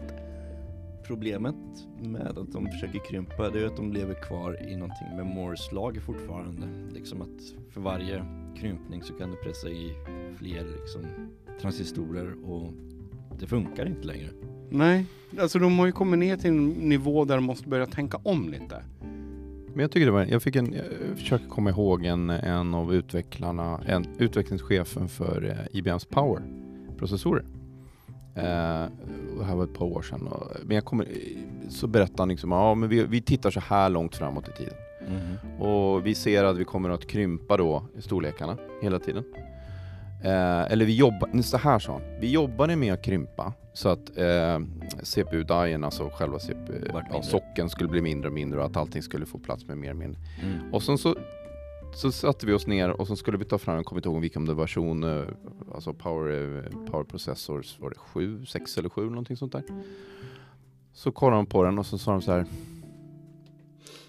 S2: Problemet med att de försöker krympa, det är att de lever kvar i någonting med Moores lag fortfarande. Liksom att för varje krympning så kan du pressa i fler liksom, transistorer och det funkar inte längre.
S1: Nej, alltså de har ju kommit ner till en nivå där de måste börja tänka om lite.
S3: Men jag tycker det var, jag fick en, jag försöker komma ihåg en, en av utvecklarna, en, utvecklingschefen för eh, IBMs Power processorer. Eh, och det här var ett par år sedan. Och, men jag kommer, eh, så berättade han liksom, ja men vi, vi tittar så här långt framåt i tiden.
S2: Mhm.
S3: Och vi ser att vi kommer att krympa då i storlekarna hela tiden. Eh, eller vi jobbar, så här sa han, vi jobbade med att krympa så att eh, CPU-dien, alltså själva CPU,
S2: Vart
S3: ja,
S2: mindre.
S3: socken skulle bli mindre och mindre och att allting skulle få plats med mer och mindre.
S2: Mm.
S3: Och sen så, så satte vi oss ner och så skulle vi ta fram, jag kommer inte ihåg vilken det var, version, eh, alltså power, eh, power processors, var det 7, 6 eller 7 någonting sånt där. Så kollade de på den och så sa de så här,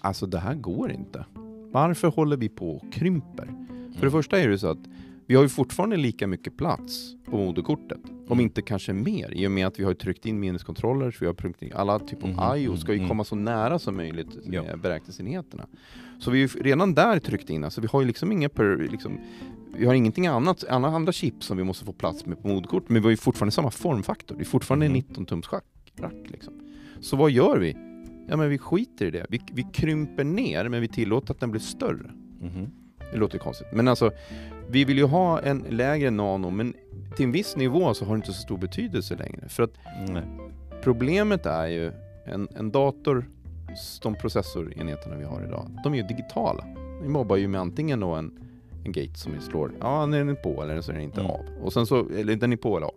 S3: alltså det här går inte. Varför håller vi på och krymper? För
S2: Mm.
S3: det första är det så att vi har ju fortfarande lika mycket plats på moderkortet, om inte kanske mer, i och med att vi har tryckt in minneskontroller, så vi har tryckt in alla typer av
S2: Mhm,
S3: IO ska ju
S2: mm,
S3: komma så nära som möjligt
S2: Ja.
S3: med beräkningsenheterna. Så vi har ju redan där tryckt in, alltså vi har ju liksom inga per, liksom, vi har ingenting annat, alla andra chip som vi måste få plats med på moderkort, men vi har ju fortfarande samma formfaktor, det är fortfarande
S2: Mhm.
S3: 19 tums schack, rack, liksom. Så vad gör vi? Ja men vi skiter i det, vi, vi krymper ner men vi tillåter att den blir större.
S2: Mhm.
S3: Det låter ju konstigt. Men alltså, vi vill ju ha en lägre nano, men till en viss nivå så har det inte så stor betydelse längre. För att
S2: Nej.
S3: problemet är ju, en, en dator, s- de processorenheterna vi har idag, de är ju digitala. Vi mobbar ju med antingen då en, en gate som vi slår, ja den är på eller så är den inte
S2: Mm.
S3: av. Och sen så, eller den är på eller av.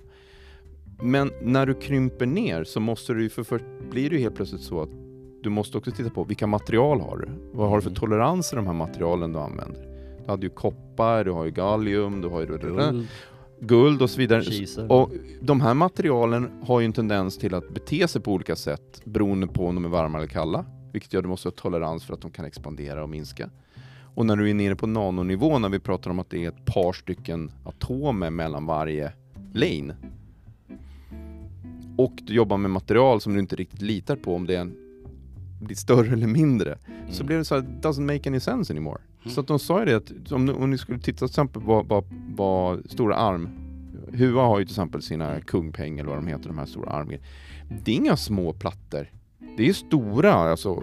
S3: Men när du krymper ner så måste du ju, för, för blir det ju helt plötsligt så att du måste också titta på vilka material har du? Vad har du för
S2: Mm.
S3: toleranser i de här materialen du använder? Du hade ju koppar, du har ju gallium, du har ju
S2: Guld,
S3: guld och så vidare.
S2: kisel.
S3: Och de här materialen har ju en tendens till att bete sig på olika sätt beroende på om de är varma eller kalla, vilket gör att du måste ha tolerans för att de kan expandera och minska. Och när du är nere på nanonivå, när vi pratar om att det är ett par stycken atomer mellan varje lane, och du jobbar med material som du inte riktigt litar på om det är en, blir större eller mindre, så
S2: Mm.
S3: blev det så här, doesn't make any sense anymore.
S1: Mm.
S3: Så att de sa ju det att om, ni- om ni skulle titta till exempel på vad, vad, vad stora arm, Hua har ju till exempel sina kungpeng eller vad de heter, de här stora armen. Det är inga små plattor. Det är ju stora, alltså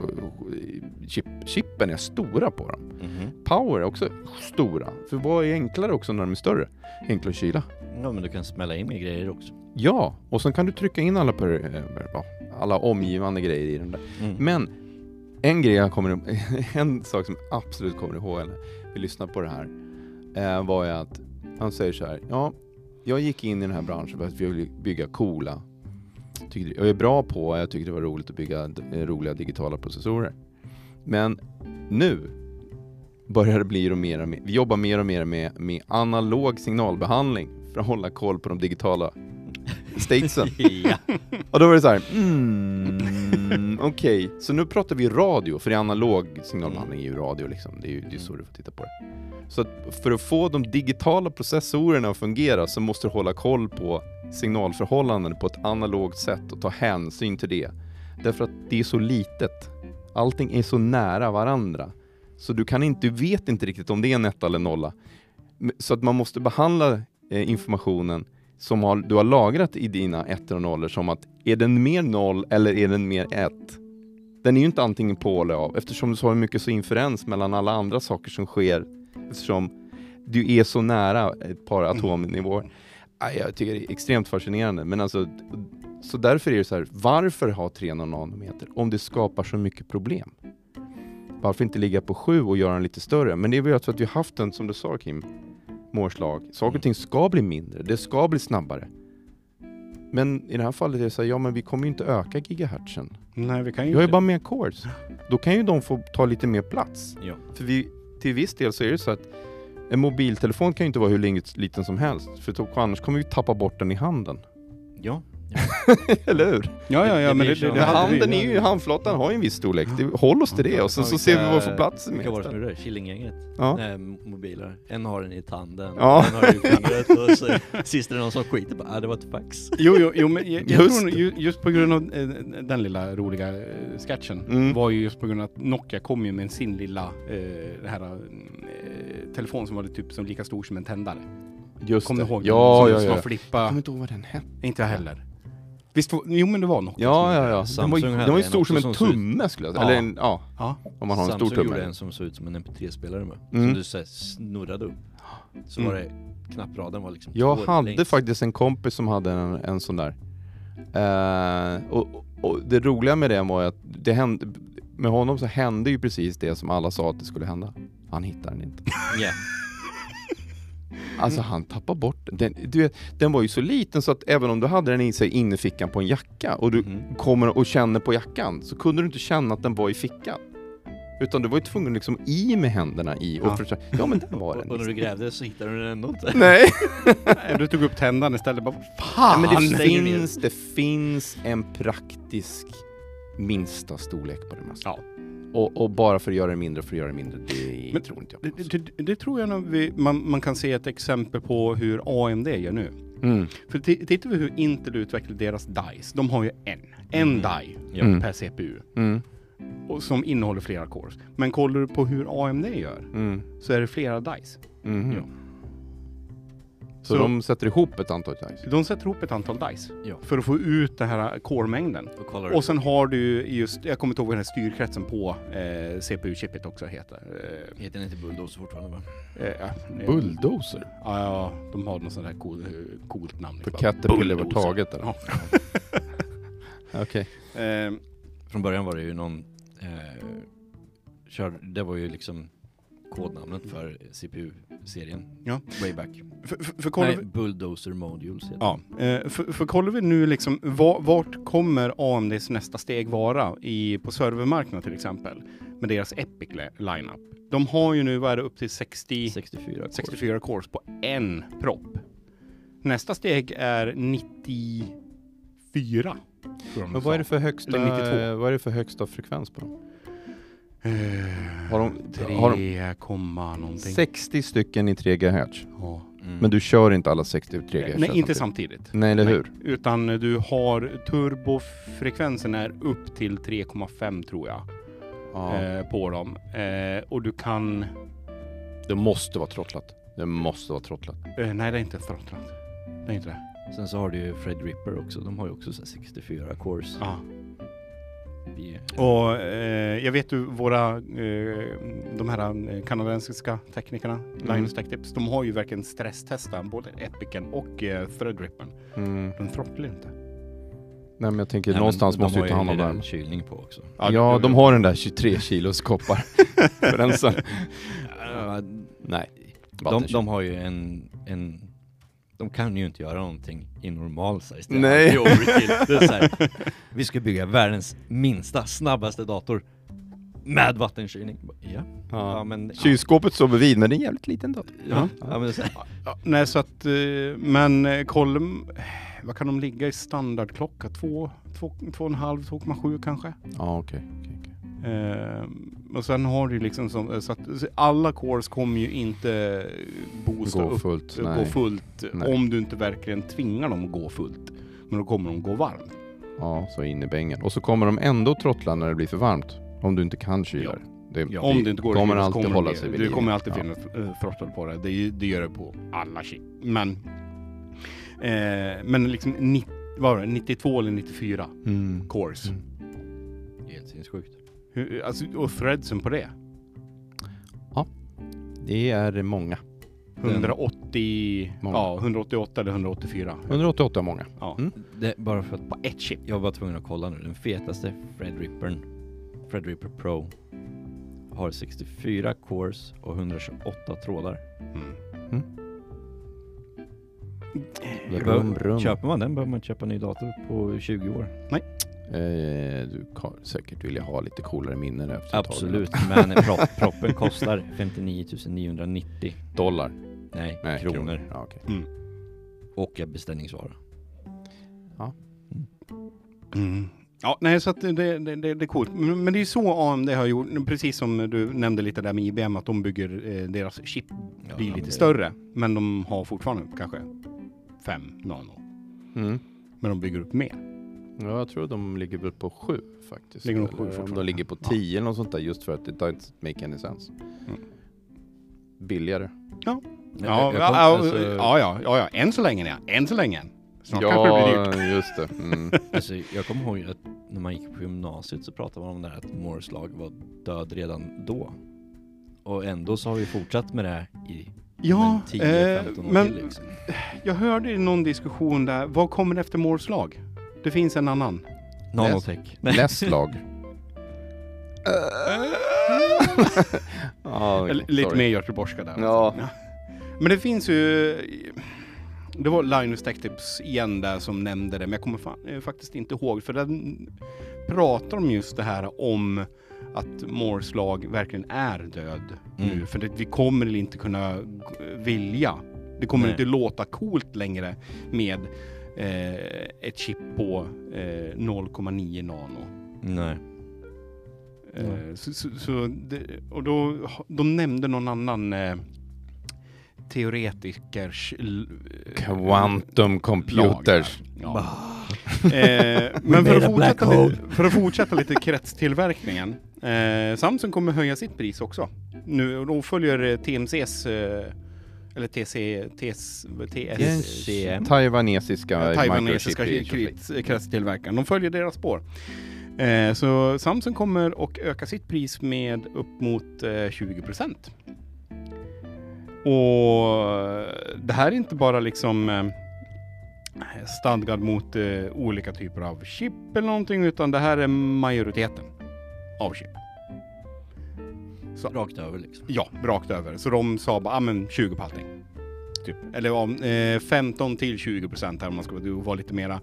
S3: chip, chippen är stora på dem.
S2: Mhm.
S3: Power är också stora. För vad är enklare också när de är större? Enklare att kyla.
S2: Ja men du kan smälla in mer grejer också.
S3: Ja, och sen kan du trycka in alla, per, eh, ja, alla omgivande grejer i den där.
S2: Mm.
S3: Men en grej jag kommer en sak som jag absolut kommer ihåg när vi lyssnade på det här eh, var ju att han säger så här, ja, jag gick in i den här branschen för att jag ville bygga coola, tycker det- jag är bra på, och jag tycker det var roligt att bygga d- eh, roliga digitala processorer. Men nu börjar det bli och mer och mer, vi jobbar mer och mer med, med analog signalbehandling för att hålla koll på de digitala statesen.
S2: ja.
S3: Och då var det så här, mm, okej. Så nu pratar vi radio, för det är analog signalbehandling är ju radio liksom. Det är ju det är så du får titta på det. Så att för att få de digitala processorerna att fungera så måste du hålla koll på signalförhållanden på ett analogt sätt och ta hänsyn till det. Därför att det är så litet. Allting är så nära varandra. Så du kan inte, du vet inte riktigt om det är en etta eller en nolla. Men- Så att man måste behandla eh, informationen som har, du har lagrat i dina ettor och nollor som att är den mer noll eller är den mer ett? Den är ju inte antingen på eller av eftersom du så har mycket så inferens mellan alla andra saker som sker eftersom du är så nära ett par
S1: Mm.
S3: atomnivåer. Aj, Jag tycker det är extremt fascinerande men alltså så därför är det så här, varför ha 300 nanometer om det skapar så mycket problem? Varför inte ligga på 7 och göra den lite större? Men det är väl för att vi har haft den, som du sa Kim, Moreslag. Saker och ting ska bli mindre, det ska bli snabbare. Men i det här fallet är det så här, ja men vi kommer ju inte öka gigahertzen.
S1: Nej, vi kan ju
S3: Vi har ju
S1: inte.
S3: bara mer cores. Då kan ju de få ta lite mer plats.
S2: Ja.
S3: För vi, till viss del så är det så att en mobiltelefon kan ju inte vara hur lin- liten som helst, för då- annars kommer vi tappa bort den i handen.
S2: Ja.
S3: Eller hur?
S1: Ja, ja,
S2: det- det
S1: ja, men
S2: blir
S1: det, det,
S2: så.
S1: det hade vi.
S3: Handen är ju, handflatan har ju en viss storlek. Det, håll oss till det och sen så ser vi vad vi får plats med.
S2: Vilka var det som gjorde det? Killinggänget?
S3: Ja.
S2: Nej, mobiler. En har den i tanden,
S3: Ja.
S2: en har den i fingret och så sist är det någon som skiter bara ah, det var ett fax.
S1: Jo, jo, jo men jag, jag
S3: Just
S1: tror
S3: det.
S1: ju, just på grund av eh, den lilla roliga eh, sketchen
S3: Mm.
S1: var ju just på grund av att Nokia kom ju med sin lilla eh, det här, eh, telefon som var typ som lika stor som en tändare.
S3: Just
S1: Kommer
S3: det.
S1: du ihåg?
S3: Ja,
S1: den? Som
S3: ja, ja.
S1: man
S3: Jag kommer
S1: flippa.
S3: inte ihåg vad den hette.
S1: Inte jag heller. Visst, var- jo men det var Nokia. som
S3: Ja,
S1: gjorde
S3: ja,
S1: det.
S3: ja. Den var,
S2: Samsung
S3: ju- den
S2: hade
S3: var ju
S2: en
S3: stor
S2: också
S3: som en
S2: som såg ut-
S3: tumme skulle jag säga.
S1: Ja.
S3: Eller en, ja,
S1: ja.
S3: om man har en
S2: Samsung
S3: stor tumme.
S2: gjorde en som såg ut som en MP3-spelare med.
S3: Mm.
S2: Som du så här, snurrade upp. Så
S1: Mm.
S2: var det knappraden var liksom
S3: Jag
S2: två
S3: hade
S2: längst.
S3: faktiskt en kompis som hade en, en sån där. Eh, och, och det roliga med det var ju att det hände, med honom så hände ju precis det som alla sa att det skulle hända. Han hittar den inte.
S2: Ja.
S3: Alltså han tappar bort den. Du vet, den var ju så liten så att även om du hade den i sig inne i fickan på en jacka och du
S2: Mhm.
S3: kommer och känner på jackan så kunde du inte känna att den var i fickan. Utan du var ju tvungen liksom i med händerna i och
S1: Ja.
S3: ja. försöka, ja men där var
S2: Och, och när
S3: den.
S2: du grävde så hittade du den ändå inte.
S3: Nej.
S1: Du tog upp tändan istället. Bara,
S3: Ja,
S1: Fan!
S3: men det,
S2: stänger ner.
S3: finns, det finns en praktisk minsta storlek på det mesta.
S1: Ja.
S3: Och, och bara för att göra det mindre för att göra det mindre, det
S1: Men-
S3: tror inte jag. på,
S1: Det,
S3: alltså.
S1: det, det- det tror jag nog vi, man, man kan se ett exempel på hur AMD gör nu.
S3: Mm.
S1: För t- tittar vi hur Intel utvecklar deras DICE, de har ju en. En
S2: Mm.
S1: DIE
S2: Ja.
S3: Mm.
S1: per CPU
S3: Mm.
S1: och som innehåller flera cores. Men kollar du på hur AMD gör
S3: Mm.
S1: så är det flera DICE.
S3: Mhm.
S1: Ja.
S3: Så,
S1: Så-
S3: de sätter ihop ett antal times?
S1: De sätter ihop ett antal DICE
S2: Ja.
S1: för att få ut den här core-mängden.
S2: Och kollar
S1: Och sen har du ju just, jag kommer inte ihåg vad den här styrkretsen på eh, CPU-chippet också heter.
S2: Heter den inte Bulldozer fortfarande va?
S1: Eh, eh, ja,
S3: Bulldozer?
S1: Ja, ja, de har något sånt där cool, coolt namn.
S3: För Caterpillar var
S1: Bulldozer.
S3: taget där?
S1: Ja.
S3: Okej.
S1: Eh,
S2: Från början var det ju någon... Eh, kör, det var ju liksom kodnamnet för CPU-serien.
S1: Ja.
S2: Wayback.
S1: för, för, för kollar
S2: Nej,
S1: vi-
S2: Bulldozer Modules heter
S1: Ja, eh, för, för kollar vi nu liksom, va- vart kommer AMDs nästa steg vara i, på servermarknaden till exempel? Med deras Epic li- lineup. De har ju nu, vad är det, upp till 60,
S2: den. 64 cores.
S1: 64 cores på en propp. Nästa steg är 94. tror jag de
S3: Men vad är, det
S1: sa.
S3: för högsta,
S1: Eller 92.
S3: eh, vad är det för högsta frekvens på dem?
S1: Eh,
S3: Har de-
S1: tre
S3: har
S1: komma någonting.
S3: 60 stycken i 3 GHz.
S1: Ja.
S2: Mm.
S3: Men du kör inte alla 60 i 3 GHz?
S1: Nej, inte samtidigt.
S3: Nej, eller
S1: Nej.
S3: hur?
S1: Utan du har turbofrekvensen är upp till 3,5 tror jag.
S3: Ja.
S1: eh, på dem. Eh, och du kan...
S3: Det måste vara trottlat. Det måste vara trottlat.
S1: Eh, nej, det är inte throttlat. Det är inte det.
S2: Sen så har du ju Fred Ripper också. De har ju också så här 64 cores.
S1: Ja.
S2: Vi-
S1: Och eh, jag vet ju våra, eh, de här eh, kanadensiska teknikerna,
S3: Mm.
S1: Linus Tech Tips, de har ju verkligen stresstestat både Epicen och eh, Threadrippern.
S3: Mm.
S1: Den throttlar ju inte.
S3: Nej men jag tänker
S2: Nej, men
S3: någonstans
S2: de
S3: måste
S2: har
S3: ju ta hand om
S2: lite
S3: den.
S2: kylning på också.
S3: Ja, de har den där 23 kilos koppar. för den sen. Nej.
S2: De, de har ju en, en... De kan ju inte göra någonting i normal size. Det är
S3: Nej.
S2: alltid overkill. Det är så här, vi ska bygga världens minsta, snabbaste dator med vattenkylning. Ja, ja.
S3: ja.
S2: men...
S3: Kylskåpet står bredvid men det är en jävligt liten dator.
S2: Ja, ja, men så här,
S1: Ja, nej, så att, eh, men eh, koll, vad kan de ligga i standardklocka? 2,5-2,7 kanske?
S3: Ja okej. okej, okej.
S1: Ehm, och sen har du ju liksom som, så att så alla cores kommer ju inte boosta
S3: Gå
S1: upp,
S3: fullt.
S1: gå
S3: Nej.
S1: fullt
S3: Nej.
S1: om du inte verkligen tvingar dem att gå fullt. Men då kommer de gå varmt.
S3: Ja, så in i bängen. Och så kommer de ändå trottla när det blir för varmt. Om du inte kan kyla
S1: Ja.
S3: det. det.
S2: Ja.
S1: om det inte går att
S3: kommer
S1: styra så
S3: alltid
S1: det
S3: hålla
S1: bli-
S3: sig vid
S1: Det
S3: liv.
S1: kommer alltid
S3: Ja.
S1: finnas eh, throttle på det. Det, är ju- det gör det på alla chip. Men, eh, men liksom ni, vad var det, 92 eller 94
S3: Mm.
S1: cores.
S3: Mm.
S2: Helt sinnessjukt.
S1: Hur, alltså, och threadsen på det.
S3: Det är många.
S1: 180,
S3: Många.
S1: ja, 188 eller 184.
S3: 188 är många.
S2: Det, bara för att
S1: På ett chip.
S2: jag var tvungen att kolla nu. Den fetaste Fred Rippern, Fred Ripper Pro, har 64 cores och 128 trådar.
S1: Mm.
S3: Rum, rum.
S2: Köper man den behöver man köpa en ny dator på 20 år.
S3: Eh, du kan säkert vilja ha lite coolare minnen efter ett tag.
S2: Absolut, men prop- proppen kostar 59 990.
S3: Dollar.
S2: Nej,
S3: Nej,
S2: kronor.
S3: Ja, okej.
S2: Och är beställningsvara.
S1: Mm. Ja, nej, så att det, det, det, det är coolt. Men men det är ju så AMD har gjort, precis som du nämnde lite där med IBM, att de bygger eh, deras chip
S2: Ja,
S1: blir
S2: men
S1: lite
S2: det-
S1: större, men de har fortfarande kanske 5 nano.
S3: Mm.
S1: Men de bygger upp mer.
S3: Ja, jag tror de ligger väl på sju faktiskt.
S1: Ligger de på
S3: Eller
S1: sju
S3: om
S1: fortfarande?
S3: de ligger på
S1: Ja.
S3: tio eller något sånt där just för att det doesn't make any sense.
S1: Mm.
S3: Billigare.
S2: Men
S1: Ja,
S2: jag- jag kom-
S1: ja,
S2: alltså-
S1: ja, ja, ja, ja, än så länge, ja. än så länge. Snart kanske det blir dyrt.
S3: Ja, just det. Mm.
S2: Alltså, jag kommer ihåg att när man gick på gymnasiet så pratade man om det här att Moores lag var död redan då. Och ändå så har vi fortsatt med det här i
S1: Ja,
S2: men,
S1: eh,
S2: 10-15 år till
S1: men
S2: liksom.
S1: jag hörde i någon diskussion där, vad kommer efter Moores lag? Det finns en annan.
S2: Nanotech.
S3: Less lag. ja, okej,
S1: Eller, lite
S3: sorry.
S1: Eh. mer göteborgska där.
S3: Ja.
S1: alltså. Men det finns ju... Det var Linus Tech Tips igen där som nämnde det, men jag kommer fan, eh, faktiskt inte ihåg. För den pratar om just det här om att Moores lag verkligen är död
S2: Mm.
S1: nu. För det, vi kommer inte kunna eh, vilja. Det kommer
S2: Nej.
S1: inte låta coolt längre med eh, ett chip på eh, 0,9 nano.
S2: Nej.
S1: Eh,
S2: Mm.
S1: Så, så, så det, och då, de nämnde någon annan eh, teoretikers... l- eh,
S3: Quantum computers.
S1: lag där. Ja. eh, men för
S2: made
S1: att,
S2: a black
S1: fortsätta
S2: hole.
S1: lite, för att fortsätta lite kretstillverkningen. Eh, Samsung kommer höja sitt pris också. Nu, och då följer eh, TMCs, eh, eller TC, TS, TS,
S2: SCM.
S3: Taiwanesiska
S1: taiwanesiska
S3: microchip i-
S1: krets- kretstillverkaren. De följer deras spår. Eh, så Samsung kommer och öka sitt pris med upp mot eh, 20 procent. Och eh, det här är inte bara liksom eh, stadgad mot eh, olika typer av chip eller någonting, utan det här är majoriteten av chip.
S2: Rakt över liksom.
S1: Ja, rakt över. Så de sa bara, ah, men 20 på allting. Typ. Eller ja, eh, 15 till 20 procent här om man ska vara- vara lite mera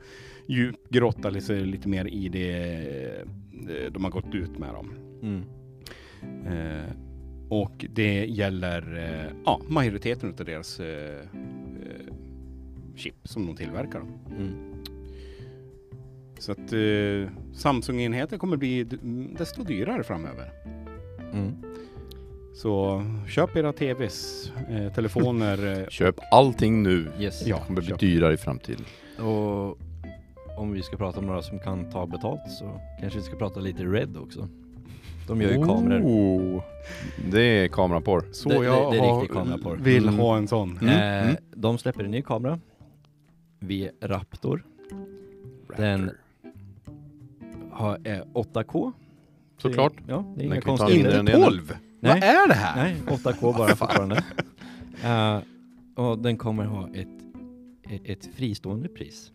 S1: djupgrotta, lite, lite mer i det eh, de har gått ut med dem.
S2: Mm.
S1: Eh, och det gäller eh, ja, majoriteten av deras eh, eh, chip som de tillverkar.
S2: Mm.
S1: Så att eh, Samsung-enheter kommer bli d- desto dyrare framöver.
S2: Mm.
S1: Så köp era TVs, eh, telefoner, eh,
S3: Köp allting nu.
S2: Yes.
S1: Ja.
S3: Det kommer bli
S1: köp.
S3: dyrare i framtiden.
S2: Och om vi ska prata om några som kan ta betalt så kanske vi ska prata lite Red också. De gör ju kameror.
S3: Oh, det är kameraporr.
S1: Så
S2: Det- det-
S1: jag
S2: det är
S1: har-
S2: riktig kameraporr.
S1: vill
S3: Mm.
S1: ha en sån.
S2: Eh,
S3: mm.
S2: De släpper en ny kamera. Vi Raptor. Den har, är 8K. Så det-
S3: Såklart.
S2: Ja, det är
S3: kan
S2: inga
S3: vi ta
S2: konstigheter.
S3: mindre.
S1: Inte
S3: den ena.
S1: 12! Vad är det här?
S2: Mm. Nej, 8K bara fortfarande. Eh, och den kommer ha ett, ett, ett fristående pris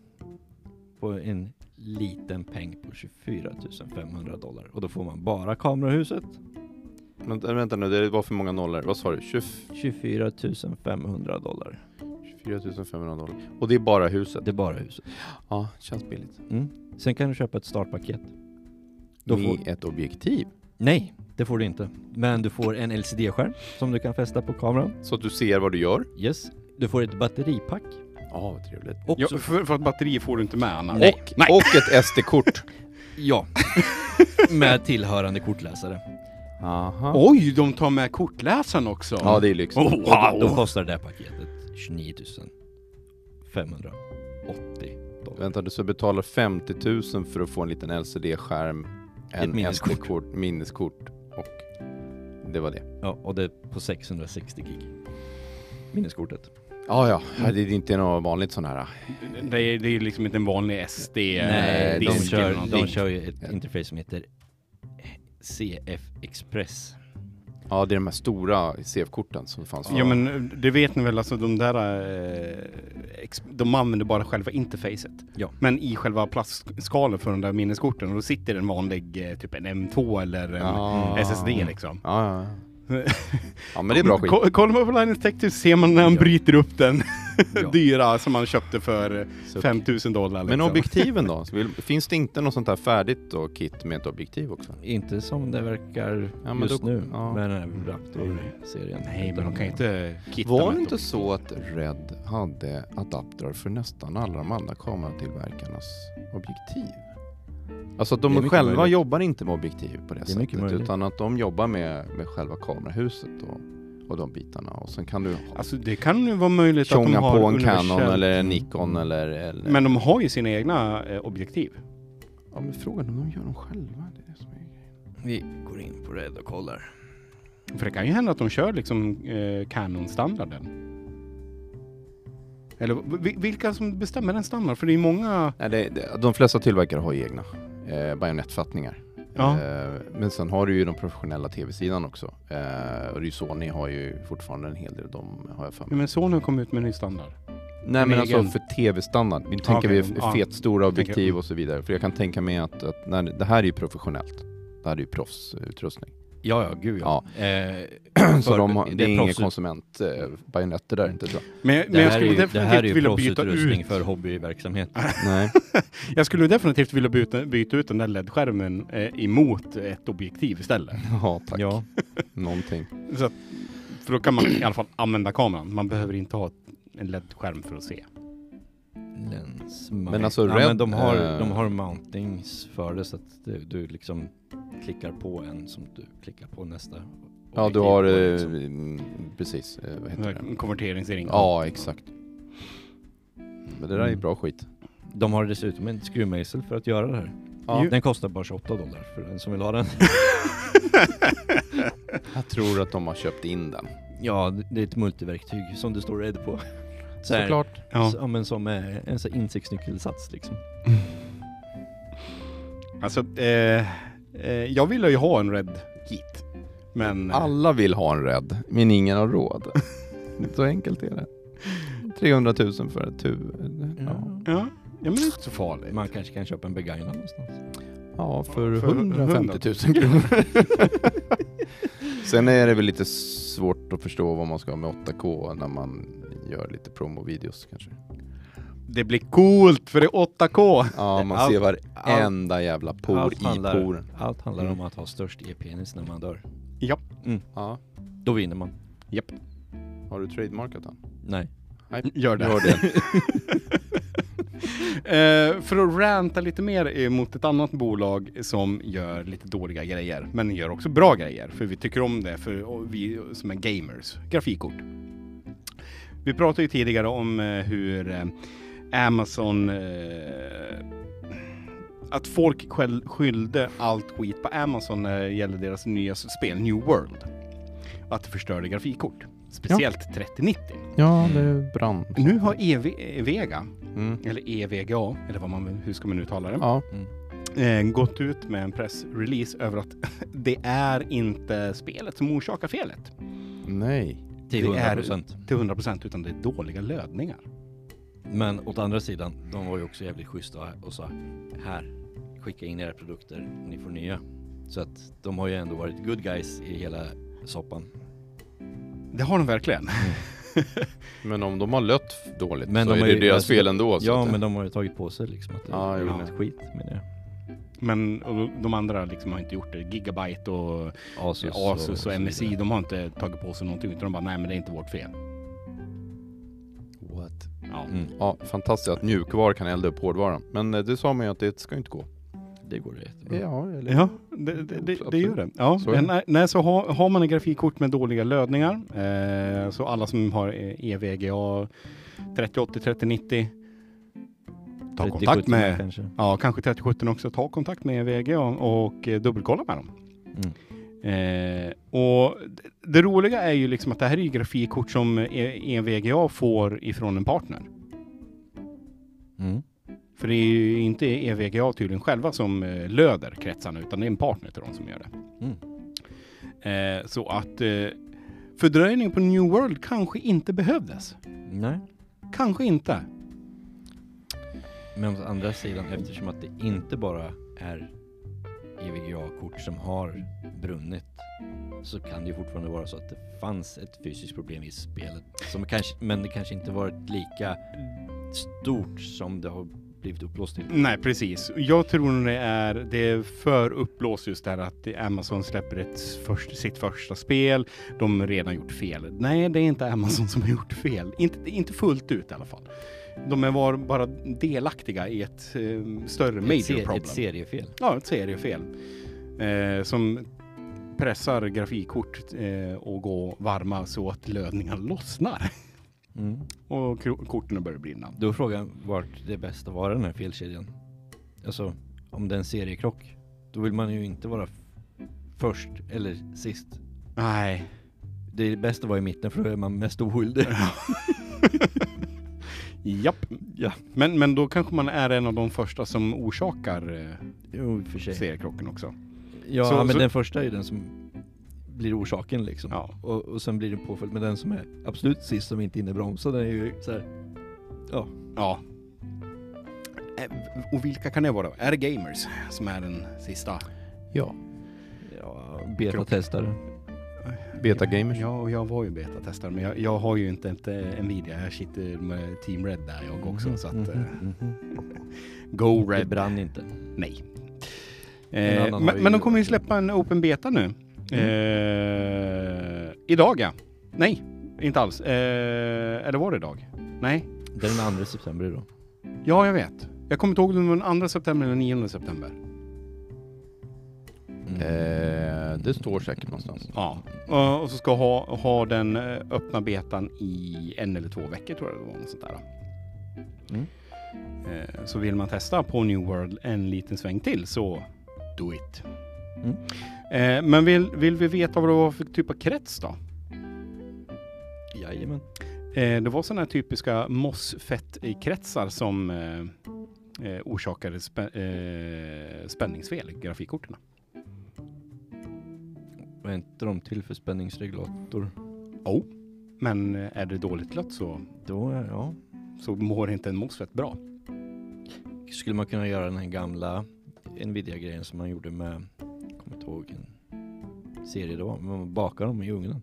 S2: på en liten peng på 24 500 dollar. Och då får man bara kamerahuset.
S3: Vänta, vänta nu, det var för många nollor. Vad sa du? 24
S2: 24 500 dollar.
S3: 500 dollar. Och det är bara huset?
S2: Det är bara huset.
S3: Ja, känns billigt.
S2: Sen kan du köpa ett startpaket. Då får,
S3: Med ett objektiv?
S2: nej, det får du inte. Men du får en LCD-skärm som du kan fästa på kameran.
S3: Så att du ser vad du gör?
S2: Yes. Du får ett batteripack.
S3: Ja, vad trevligt.
S2: Och
S1: Ja,
S2: så-
S1: för, för att batteri får du inte med annars.
S2: Nej.
S3: Och, och ett SD-kort.
S2: ja. Med tillhörande kortläsare.
S3: Aha.
S1: Oj, de tar med kortläsaren också!
S3: Ja, det är lyx.
S1: Oh,
S2: Och Ah, då, då
S1: wow!
S2: kostar det här paketet 29 580 dollar.
S3: Vänta, du ska betala 50 000 för att få en liten LCD-skärm, en
S2: minneskort.
S3: SD-kort, minneskort och det var det.
S2: Ja, och det är på 660 gig. Minneskortet.
S3: Ah, ja, ja, det är inte något vanligt sån här.
S1: Det är, det är liksom inte en vanlig SD...
S3: Nej,
S2: de,
S3: disk
S1: eller
S2: kör, de
S1: någonting.
S2: kör ju ett
S3: Ja.
S2: interface som heter CF Express.
S3: Ja, det är de här stora CF-korten som fanns
S1: Ja men eh, det vet ni väl, alltså de där... Eh, ex- de använder bara själva interfacet.
S2: Ja.
S1: Men i själva plastskalet för de där minneskorten, och då sitter en vanlig, eh, typ en M2 eller en
S3: Ah.
S1: SSD liksom.
S3: Ja, ja, ja. ja, men det är bra skit.
S1: Ko- Kollar man på Linus Tech Tips ser man när han
S2: Ja.
S1: bryter upp den
S2: Ja.
S1: dyra som han köpte för eh,
S3: Så-
S1: 5000 dollar. Liksom.
S3: Men objektiven då? Vill- Finns det inte något sånt här färdigt då, kit med ett objektiv också?
S2: Inte som det verkar
S3: Ja, men
S2: just
S3: då-
S2: nu
S3: ja.
S2: med den här Raptor-serien.
S1: Nej, men de kan ju inte kitta
S3: Var
S1: med
S3: det inte
S1: ett
S3: så att Red hade adaptrar för nästan alla de andra kameratillverkarnas objektiv? Alltså att
S2: Det är
S3: de
S2: mycket
S3: själva
S2: möjligt.
S3: jobbar inte med objektiv på
S2: är
S3: det,
S2: mycket
S3: sättet
S2: möjligt.
S3: utan att de jobbar med, med själva kamerahuset och, och de bitarna och sen kan du ha-
S1: Alltså det kan ju vara möjligt att de
S3: tjonga
S1: har
S3: på en
S1: universell-
S3: Canon eller en Nikon eller... eller...
S1: Men de har ju sina egna eh, objektiv.
S3: Ja, men frågan är om de gör dem själva? Det är det som är... grejen.
S2: Vi går in på Red och kollar.
S1: För det kan ju hända att de kör liksom eh, Canon-standarden. Eller vi- vilka som bestämmer den standarden? För det är ju många...
S3: Nej, det, det, de flesta tillverkare har ju egna eh, bajonettfattningar.
S1: Ja.
S3: Eh, men sen har du ju den professionella tv-sidan också. Eh, och det är ju Sony har ju fortfarande en hel del, de har jag för
S1: Ja,
S3: mig.
S1: men Sony har kommit ut med en ny standard.
S3: Nej men alltså
S1: Mm. egen.
S3: för tv-standard, nu tänker
S1: okej,
S3: vi f-
S1: ja.
S3: fet, stora
S1: Tänker-
S3: objektiv och så vidare. För jag kan tänka mig att, att när, det här är ju professionellt. Det här är ju proffsutrustning.
S2: Ja, ja, gud ja. Eh,
S3: Så
S2: för-
S3: de har, det är inga
S2: proffs-
S3: konsumentbajonetter där inte tror jag.
S1: Men,
S2: det
S1: men jag
S2: här är
S1: skulle
S2: ju, det här är
S1: definitivt
S2: ju
S1: vilja byta
S2: proffsutrustning
S1: ut.
S2: för hobbyverksamhet.
S3: Nej.
S1: Jag skulle definitivt vilja byta, byta ut den där LED-skärmen eh, emot ett objektiv istället.
S3: Ja, tack.
S2: Ja.
S3: Någonting.
S1: Så att, för då kan man i alla fall använda kameran. Man behöver inte ha en LED-skärm för att se.
S2: Lens
S3: Men alltså
S2: ja,
S3: Red-
S2: men de, har,
S3: eh,
S2: de har mountings för det så att du, du liksom klickar på en som du klickar på nästa.
S3: Ja, du
S2: objektiv
S3: har...
S2: på,
S3: eh,
S2: liksom.
S3: mm, Precis, eh, vad heter det?
S1: Konverteringsring.
S3: Ja, exakt. Men det där är
S2: Mm.
S3: bra skit.
S2: De har dessutom en skruvmejsel för att göra det här.
S3: Ja.
S2: Den kostar bara 28 dollar för den som vill ha den.
S3: Jag tror att de har köpt in den.
S2: Ja, det- det är ett multiverktyg som det står Red på. Så här,
S3: Såklart.
S1: Ja.
S2: Ja. men som eh, en sån här insektsnyckelsats liksom.
S1: Alltså, eh, eh, jag ville ju ha en Red Kit. Men... eh,
S3: Alla vill ha en Red, men ingen har råd. Så enkelt är det. 300 000 för ett huvud. Ja,
S1: Ja, ja men det är inte så farligt.
S2: Man kanske kan köpa en begagnad någonstans.
S3: ja för
S1: För
S3: 150 000 kronor. Sen är det väl lite svårt att förstå vad man ska ha med 8K när man gör lite promovideos kanske.
S1: Det blir coolt för det är 8K.
S3: Ja, man
S2: Allt-
S3: ser varenda jävla por
S2: allt
S3: i
S2: handlar-
S3: poren.
S2: Allt handlar
S1: Mm.
S2: om att ha störst e-penis när man dör.
S3: Ja.
S2: Då vinner man.
S3: Har du trademarkat den?
S2: Nej.
S1: Gör det.
S3: Gör det.
S1: Eh, för att ranta lite mer eh, mot ett annat bolag som gör lite dåliga grejer, men gör också bra grejer, för vi tycker om det, för och vi som är gamers. Grafikkort. Vi pratade ju tidigare om eh, hur eh, Amazon... Eh, att folk skäll- skyllde allt skit på Amazon när det gäller deras nya spel New World. Att det förstörde grafikkort. Speciellt 3090.
S3: Ja, det brann.
S1: Nu har EV- Evega
S3: Mm.
S1: eller E EVGA, eller vad man, hur ska man uttala det,
S3: Ja,
S1: eh, gått ut med en pressrelease över att det är inte spelet som orsakar felet
S3: nej.
S2: Till
S1: Det är-
S2: 100 procent.
S1: till 100 procent, utan det är dåliga lödningar.
S2: Men åt andra sidan, de var ju också jävligt schyssta och sa här, skicka in era produkter, ni får nya. Så att de har ju ändå varit good guys i hela soppan.
S1: Det har de verkligen.
S2: Mm.
S3: Men om de har lött f- dåligt
S2: Men
S3: så
S2: de
S3: är
S2: har
S3: det
S2: ju-
S3: deras
S2: alltså,
S3: fel ändå. så
S2: Ja,
S3: att det-
S2: men de har ju tagit på sig liksom att det
S3: Ja,
S2: är
S3: jo,
S2: ja. skit menar jag.
S1: Men och de andra liksom har inte gjort det. Gigabyte och
S2: Asus,
S1: Asus och
S2: så
S1: MSI,
S2: vidare.
S1: de har inte tagit på sig någonting, utan de bara nej, men det är inte vårt fel.
S3: What?
S1: Ja.
S2: Mm,
S3: Ja, fantastiskt att mjukvara kan elda upp hårdvaran. Men eh, det sa man ju att det ska inte gå.
S2: det går det jättebra.
S3: Ja, eller?
S1: Ja, det, det, det, det gör det. Ja,
S3: Så är det.
S1: nej, nej, så har, har man en grafikkort med dåliga lödningar, eh, så alla som har eh, EVGA 3080, 3090, ta
S2: 30,
S1: kontakt
S2: 70
S1: med,
S2: kanske.
S1: ja kanske 3070 också, ta kontakt med E EVGA och eh, dubbelkolla med dem.
S2: Mm.
S1: Eh, och det, det roliga är ju liksom att det här är ju grafikkort som eh, EVGA får ifrån en partner.
S2: Mm.
S1: För det är ju inte E EVGA tydligen själva som eh, löder kretsarna, utan det är en partner till dem som gör det.
S2: Mm.
S1: Eh, så att eh, fördröjning på New World kanske inte behövdes.
S2: Nej,
S1: Kanske inte.
S2: men å andra sidan eftersom att det inte bara är E EVGA-kort som har brunnit så kan det ju fortfarande vara så att det fanns ett fysiskt problem i spelet som kanske, men det kanske inte varit lika stort som det har blivit uppblåst till.
S1: Nej, precis. Jag tror nog det är, det är för uppblåst just där att Amazon släpper ett först, sitt första spel. De har redan gjort fel. Nej, det är inte Amazon som har gjort fel. Inte, inte fullt ut i alla fall. De är var bara delaktiga i ett eh, större major
S2: ett, se-
S1: problem.
S2: ett seriefel.
S1: Ja, ett seriefel. Eh, som pressar grafikkort eh, och går varma så att lödningar lossnar och kro- korten börjar brinna.
S2: Mm. Då är frågan vart det är bäst att vara den här felkedjan. Alltså om det är en seriekrock, då vill man ju inte vara f- först eller sist.
S1: Nej.
S2: Det är bäst att vara i mitten för då är man mest oskyldig.
S1: Japp.
S2: Ja.
S1: Men, men då kanske man är en av de första som orsakar eh,
S2: Jo, i och för sig.
S1: seriekrocken också.
S2: Ja,
S1: Så-
S2: men
S1: så-
S2: den första är ju den som blir orsaken liksom.
S1: Ja.
S2: Och, och sen blir det påföljd. Men den som är absolut sist som inte hinner bromsa, den är ju så här.
S1: ja. Eh, Och vilka kan det vara? Är det gamers som är den sista?
S3: Ja.
S2: Ja, betatestare.
S3: Betagamers.
S1: Ja, och jag var ju betatestare, men jag, jag har ju inte, inte Nvidia. Jag sitter med Team Red där jag också, så att eh, Go
S2: Mm-hmm. Det
S1: Red,
S2: brann inte.
S1: nej.
S2: En
S1: Eh,
S2: annan har
S1: men,
S2: ju- Mm.
S1: men de kommer ju släppa en Open Beta nu. Eh, idag ja. Nej, inte alls. Eh, eller var det idag? Nej.
S2: Det är den 2 september idag.
S1: Ja, jag vet. Jag kommer inte ihåg om det var den 2 september eller 9 september.
S2: Mm.
S3: Eh, det står säkert någonstans.
S1: Ja, och- och så ska ha, ha den eh, öppna betan i en eller två veckor tror jag det var. Något sånt där.
S2: Mm.
S1: Eh, Så vill man testa på New World en liten sväng till så do it.
S2: Mm.
S1: Eh, Men vill, vill vi veta vad det var för typ av krets då?
S2: Jajamän.
S1: Eh, Det var sådana här typiska mossfettkretsar som eh, eh, orsakade spä, eh, spänningsfel i grafikkorten.
S2: Vad är inte de till för spänningsregulator?
S1: Men eh, är det dåligt lött så,
S2: Då, är- ja.
S1: så mår inte en mossfett bra.
S2: Skulle man kunna göra den här gamla Nvidia-grejen som man gjorde med, jag kommer inte ihåg en serie då, men man bakar dem i ugnen.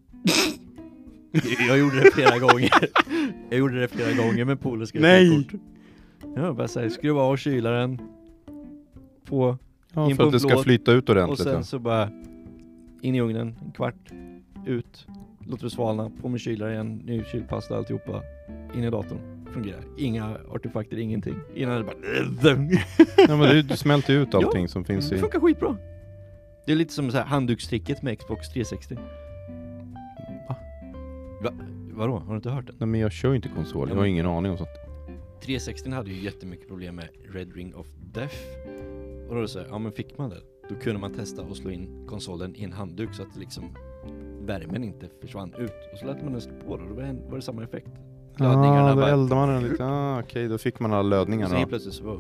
S2: jag gjorde det flera gånger. Jag gjorde det flera gånger med Polos
S1: Nej!
S2: grafikkort. Ja, bara såhär, skruva av kylaren, på
S3: Ja,
S2: In på
S3: för att
S2: en
S3: det ska
S2: plåt,
S3: flyta ut
S2: och
S3: ordentligt.
S2: sen
S3: ja.
S2: så bara in i ugnen, en kvart, ut, låter det svalna, på med kylare igen, ny kylpasta, alltihopa, in i datorn. Fungerar. Inga artefakter, ingenting. Innan det bara...
S3: ja, men det, det smälter ju ut allting som finns
S2: Det
S3: i...
S2: funkar skitbra. Det är lite som så här handdukstricket med Xbox 360. Va? Va? Vadå? Har du inte hört den?
S3: Nej men jag kör ju inte konsol, jag har ingen aning om sånt.
S2: 360 hade ju jättemycket problem med Red Ring of Death. Och då är det så här, ja men fick man det, då kunde man testa och slå in konsolen i en handduk så att liksom värmen inte försvann ut. Och så lät man den stå på då, då var det- var det samma effekt. Lödningarna
S3: ah, då
S2: bara-
S3: eldar man den lite. Ah, Okej, då fick man alla
S2: Och så helt
S3: lödningarna.
S2: plötsligt så var,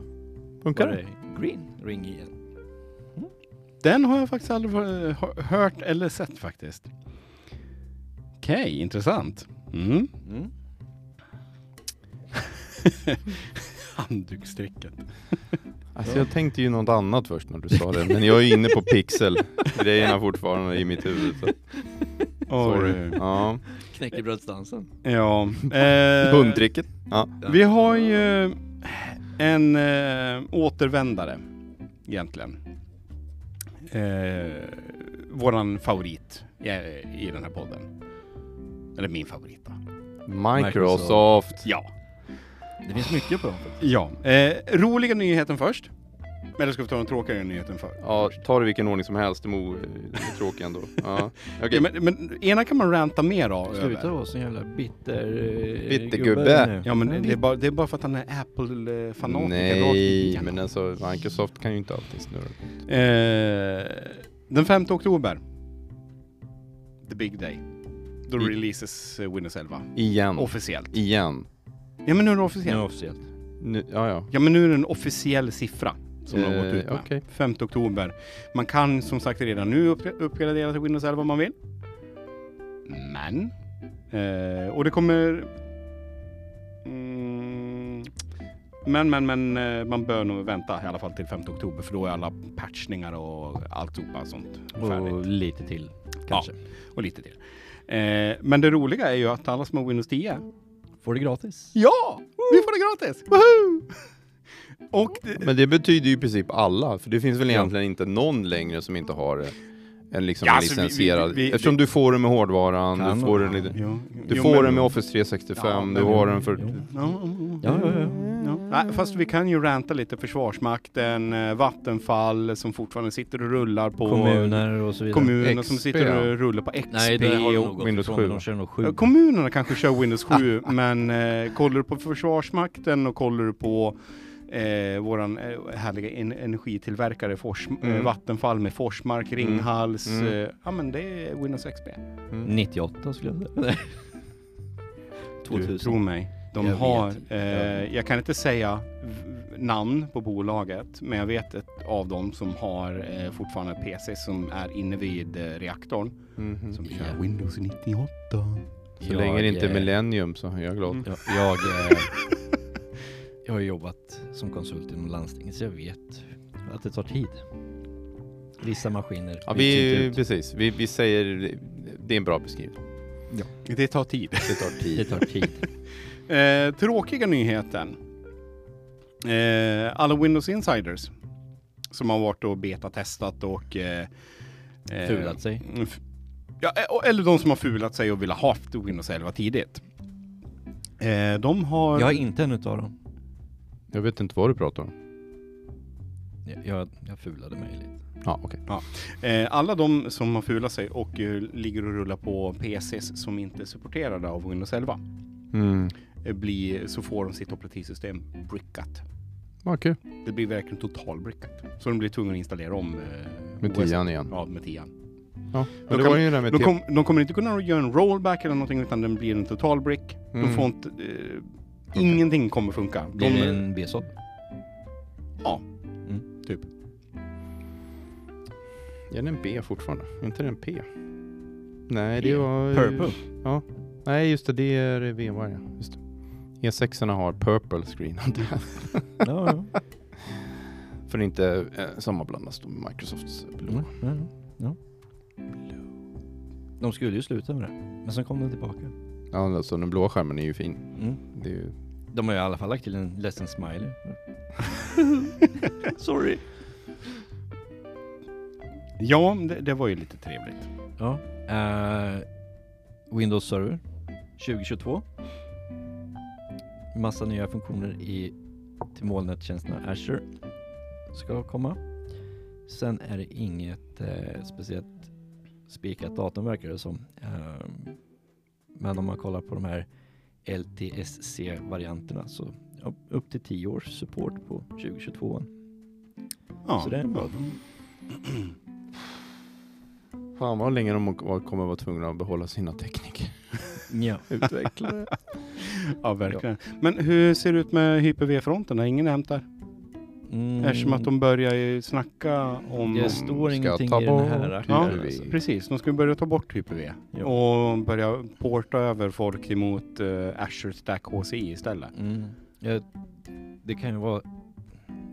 S3: Funkar
S2: var
S3: det?
S2: det green ring igen.
S1: Den har jag faktiskt aldrig eh, hö- hört eller sett faktiskt. Okej, intressant. Mm.
S2: Mm.
S1: Handdukstricket.
S3: Alltså jag tänkte ju något annat först när du sa det, men jag är ju inne på pixel-grejerna fortfarande i mitt huvud. Så. Sorry.
S1: Oj.
S3: Ja.
S2: Knäckebrödsdansen.
S1: Ja. Eh,
S3: Hundtricket. Ja.
S1: Vi har ju en eh, återvändare egentligen. Eh, våran favorit i, i den här podden. Eller min favorit då.
S3: Microsoft.
S1: Ja.
S2: Det finns mycket på dem faktiskt.
S1: Ja. Eh, roliga nyheten först. Eller ska vi ta den tråkiga nyheten först?
S3: Ja, ta det i vilken ordning som helst, det är mo- det är tråkigt ändå. Ja. Okej,
S1: Ja, men, men ena kan man ranta mer av.
S2: Sluta
S1: över.
S2: vara sån jävla bitter... eh,
S3: Bittergubbe.
S2: gubbe nu.
S1: Ja, men det är, bara, det är bara för att han är Apple-fanatiker. rakt
S3: Nej,
S1: igenom.
S3: men alltså Microsoft kan ju inte alltid snurra.
S1: Eh, den 5 oktober. The big day. Då
S3: I-
S1: releases eh, Windows 11.
S3: Igen.
S1: Officiellt.
S3: Igen.
S1: Ja, men nu är det
S2: Nu är det
S1: officiellt.
S2: officiellt.
S3: Nu, ja, ja.
S1: Ja, men nu är det en officiell siffra som de har gått
S3: Eh,
S1: ut med.
S3: okej.
S1: 5 oktober. Man kan som sagt redan nu upp- uppgradera till Windows 11 om man vill. Men. Eh, och det kommer... Mm, men, men, men eh, man bör nog vänta i alla fall till 5 oktober för då är alla patchningar och allt sånt färdigt.
S2: Och lite till kanske.
S1: kanske. och lite till. Eh, men det roliga är ju att alla som har Windows 10,
S2: Får det gratis?
S1: ja, vi får det gratis! Woho! Och det,
S3: Men det betyder ju i princip alla, för det finns väl
S2: Ja.
S3: egentligen inte någon längre som inte har eh, en liksom
S1: Ja,
S3: en
S1: alltså, vi- vi-
S3: licensierad.
S1: vi- vi-
S3: Eftersom du får den med hårdvaran,
S2: Kan
S3: du får
S2: man-
S3: den, lite,
S1: jo,
S3: du
S1: jo,
S3: får
S1: men-
S3: den med Office 365,
S1: Ja, men-
S3: du har den för...
S2: Jo.
S1: Ja, ja,
S2: Ja, ja, ja.
S1: ja. Nej, fast vi kan ju ranta lite Försvarsmakten, eh, Vattenfall som fortfarande sitter och rullar på
S2: Kommuner och så vidare.
S1: kommuner
S3: XP,
S1: som sitter och rullar på XP.
S2: Nej, det har de nog gått
S3: Windows
S2: ifrån,
S3: 7.
S2: De kör nog
S1: Ja,
S2: 7.
S1: Kommunerna kanske kör Windows 7, men eh, kollar du på Försvarsmakten och kollar du på eh, våran eh, härliga en energitillverkare Fors eh,
S3: Mm.
S1: Vattenfall med Forsmark, Ringhals.
S3: Mm.
S1: Eh, ja, men det är Windows XP.
S2: 98 skulle jag säga. Nej.
S1: Du, tro
S2: 2000.
S1: mig. De
S2: Jag
S1: har,
S2: vet.
S1: eh, jag kan inte säga v- namn på bolaget, men jag vet ett av dem som har eh, fortfarande ett PC som är inne vid eh, reaktorn
S3: Mhm.
S1: som kör
S2: Mm. Ja.
S1: Windows 98.
S3: Så länge det inte är
S2: eh,
S3: Millennium så är jag glad.
S1: Mm.
S2: Jag, jag, eh, jag har jobbat som konsult inom landstinget så jag vet att det tar tid. Vissa maskiner
S3: Ja,
S2: byts inte
S3: vi,
S2: ut.
S3: precis. Vi, vi säger, det är en bra beskrivning.
S1: Det tar tid.
S3: Det tar tid.
S2: Det tar tid.
S1: Eh, tråkiga nyheten. Eh, alla Windows Insiders som har varit och betatestat och... Eh, eh,
S2: Fulat sig.
S1: f- Ja, eh, och- eller de som har fulat sig och vill ha haft Windows 11 tidigt. Eh, de har...
S2: Jag är inte en utav dem.
S3: Jag vet inte vad du pratar om.
S2: Jag, jag, jag fulade mig lite.
S3: Ja, okej.
S1: Eh, alla de som har fulat sig och eh, ligger och rullar på PCs som inte är supporterade av Windows 11
S3: Mm.
S1: eh, blir, så får de sitt operativsystem brickat.
S3: Vad kul.
S1: Det blir verkligen totalbrickat. Så de blir tvungna att installera om eh,
S3: Med
S1: OS.
S3: tian igen.
S1: Ja, med tian.
S3: Ja,
S1: Då
S3: men det
S1: kan-
S3: var ju det där med
S1: De,
S3: te-
S1: kom, de kommer inte kunna göra en rollback eller någonting utan den blir en total brick. De
S3: Mm.
S1: får inte, eh, Ingenting kommer funka.
S2: Blir
S1: De,
S2: det en BSOP?
S3: Är det en B fortfarande? Är inte det en P? Nej,
S1: P.
S3: det var...
S1: Purple.
S3: Ja. Nej, just det. Det är VMware, ja. Just det. E6orna har purple screen.
S2: Ja, ja.
S3: För att inte eh, sammanblandas då med Microsofts blå.
S2: Mm, ja, ja. De skulle ju sluta med det. Men sen kom den tillbaka.
S3: Ja, alltså den blåa skärmen är ju fin.
S2: Mm.
S3: Det är ju...
S2: De har ju i alla fall lagt till en ledsen smiley. Sorry.
S1: ja, det, det var ju lite trevligt.
S2: Ja. eh, Windows Server 2022. Massa nya funktioner i till molnättjänsterna Azure ska komma. Sen är det inget eh, speciellt spikat datum verkar det som. Eh, men om man kollar på de här LTSC-varianterna så ja, upp till 10 års support på 2022.
S1: Ja,
S2: Så det är bra.
S3: Fan vad länge de kommer vara tvungna att behålla sina tekniker.
S2: Ja.
S3: Utvecklare.
S1: ja verkligen. Men hur ser det ut med Hyper-V-fronten? Har ingen nämnt där?
S2: Mm,
S1: Eftersom att de börjar ju snacka om...
S2: det står
S3: ska
S2: ingenting i
S3: ta
S2: den här
S3: bort
S2: artikeln.
S1: Ja,
S3: Hyper-V.
S2: alltså.
S1: precis. De ska ju börja ta bort Hyper-V
S2: Ja.
S1: och börja porta över folk emot eh, Azure Stack HCI istället.
S2: Mm. Ja, det kan ju vara,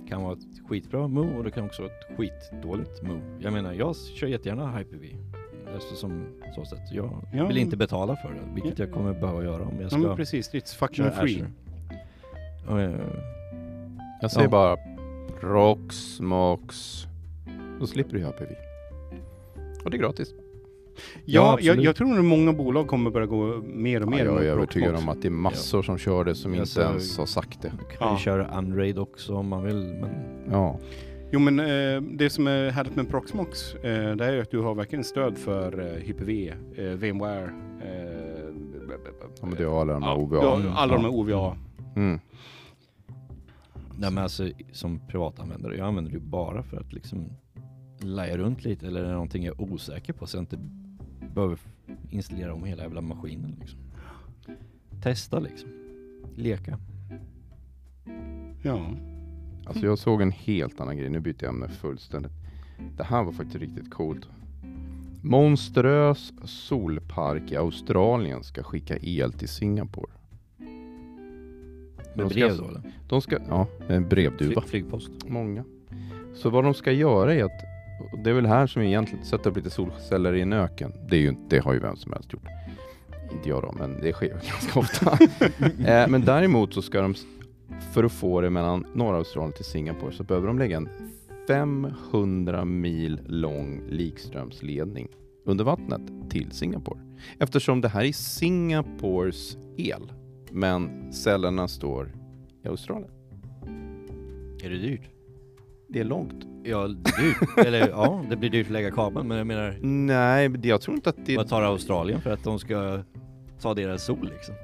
S2: kan vara ett skitbra move och det kan också vara ett skitdåligt move. Jag menar, jag kör jättegärna Hyper-V. Eftersom så sätt. Jag
S1: Ja,
S2: vill inte betala för det, vilket jag kommer behöva göra om jag
S1: Ja,
S2: ska
S1: men precis. It's fucking
S2: köra
S1: free.
S2: Azure. Och, eh,
S3: Jag säger
S2: Ja.
S3: bara Proxmox. Då slipper du ju HPV. Och det är gratis.
S1: Ja,
S2: absolut.
S1: jag, jag tror att många bolag kommer börja gå mer och
S3: Ja,
S1: mer
S3: jag
S1: mot
S3: är övertygad
S1: Proxmox.
S3: om att det är massor som kör det som
S2: Jag
S3: inte
S2: ser-
S3: ens har sagt det.
S2: man kan
S1: Ja.
S2: ju köra Unraid också om man vill, men
S3: Ja.
S1: Jo, men eh, det som är härligt med Proxmox, eh, det är ju att du har verkligen stöd för eh, Hyper-V, eh, VMware, eh, b- b- b-
S3: ja men det har alla de här
S1: ja,
S3: OVA.
S1: du har alla de här
S3: Ja.
S1: OVA.
S3: Mm.
S2: nej men alltså som privatanvändare, jag använder det ju bara för att liksom laja runt lite eller är det någonting jag är osäker på så jag inte behöver installera om hela jävla maskinen liksom. Testa liksom. Leka.
S3: Mm.
S1: Ja.
S3: Alltså jag såg en helt annan grej. Nu byter jag ämne fullständigt. Det här var faktiskt riktigt coolt. Monsterös solpark i Australien ska skicka el till Singapore.
S2: Med
S3: De ska-
S2: brev då eller?
S3: De ska, ja, med en brevduva.
S2: Fly- flygpost.
S3: Många. Så vad de ska göra är att, och det är väl här som vi egentligen sätter upp lite solceller i en öken. Det, är ju, inte- det har ju vem som helst gjort. Inte jag då, men det sker ju ganska ofta. eh, men däremot så ska de, s- för att få det mellan norra Australien till Singapore, så behöver de lägga en 500 mil lång likströmsledning under vattnet till Singapore. Eftersom det här är Singapores el, men cellerna står i Australien.
S2: Är det dyrt?
S3: Det är långt.
S2: Ja, dyrt. eller ja, det blir dyrt att lägga kabeln men jag menar,
S3: Nej, men det- jag tror inte att det...
S2: vad tar Australien för att de ska ta deras sol liksom?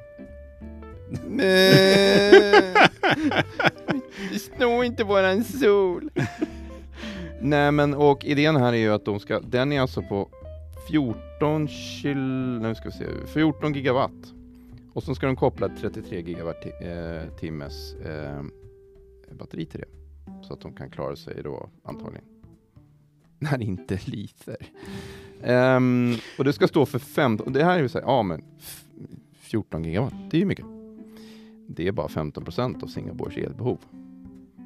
S3: Snå inte våran sol. Nej, men och idén här är ju att de ska... Den är alltså på 14 kil... Nu ska vi se. 14 gigawatt. Och så ska de koppla 33 gigawatt ti- eh, timmes eh, batteri till det. Så att de kan klara sig då antagligen. När det inte lyser. Ehm, och det ska stå för 15, det här är ju såhär, ja men f- 14 gigawatt, det är ju mycket. Det är bara 15 procent av Singapores elbehov.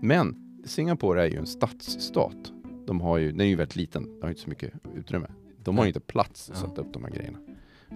S3: Men Singapore är ju en stadsstat. de har ju, den är ju väldigt liten, de har inte så mycket utrymme. De har
S2: Nej.
S3: ju inte plats att
S2: Ja.
S3: sätta upp de här grejerna.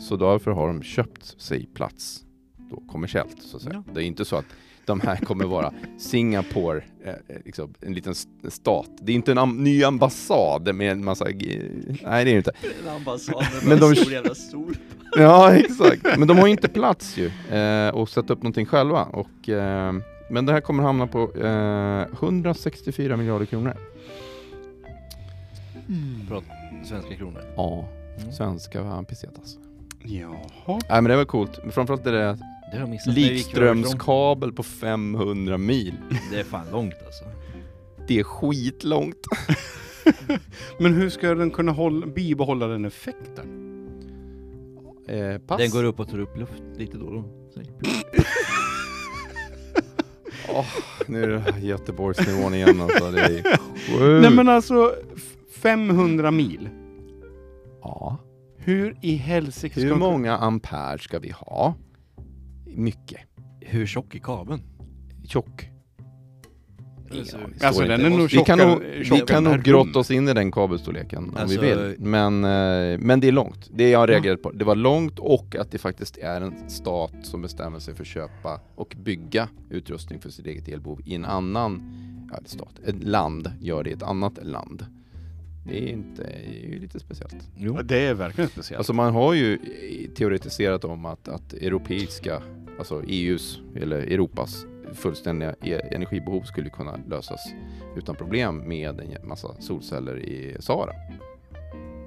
S3: Så därför har de köpt sig plats då kommersiellt så att säga.
S2: Ja.
S3: Det är inte så att de här kommer vara Singapore, eh, eh, liksom, en liten s- stat. Det är inte en am- ny ambassad med en massa... g- Nej det är det inte.
S2: En ambassad med
S3: Men
S2: en
S3: de-
S2: stor jävla sol.
S3: Ja, exakt. Men de har ju inte plats ju eh, och sätta upp någonting själva. Och, eh, men det här kommer hamna på eh, 164 miljarder kronor.
S2: Svenska kronor.
S3: Ja,
S2: Mm.
S3: svenska pesetas.
S1: Jaha.
S3: Nej men det var coolt. Men Framförallt är
S2: Det
S3: det
S2: har jag missat. när jag gick härifrån.
S3: likströmskabel på 500 mil.
S2: Det är fan långt alltså.
S3: Det är skitlångt.
S1: Men hur ska den kunna hålla, bibehålla den effekten?
S3: Eh, pass.
S2: Den går upp och tar upp luft lite då och då. Så-
S3: Nu är det Göteborgsnivån igen alltså. Det är sjukt.
S1: Nej men alltså, f- 500 mil.
S3: Ja.
S1: Hur i helsike ska
S3: Hur
S1: de-
S3: många ampere ska vi ha? Mycket.
S2: Hur tjock är kabeln?
S3: Tjock.
S2: Alltså,
S3: Ingen aning.
S1: alltså,
S3: Står
S1: den
S3: inte.
S1: är nog
S3: vi kan
S1: tjockare-
S3: nog, vi
S1: tjockare
S3: kan
S1: än
S3: nog
S1: här rum.
S3: grotta oss in i den kabelstorleken
S2: Alltså-
S3: om vi vill. Men, eh, men det är långt. Det jag reagerade på, det var långt och att det faktiskt är en stat som bestämmer sig för att köpa och bygga utrustning för sitt eget elbehov i en annan ja, stat. Ett land gör det i ett annat land. Det är, inte, det är ju lite speciellt.
S2: Jo.
S1: Ja, Det är verkligen speciellt.
S3: Alltså man har ju eh, teoretiserat om att, att europeiska, alltså EUs eller Europas fullständiga e- energibehov skulle kunna lösas utan problem med en massa solceller i Sahara.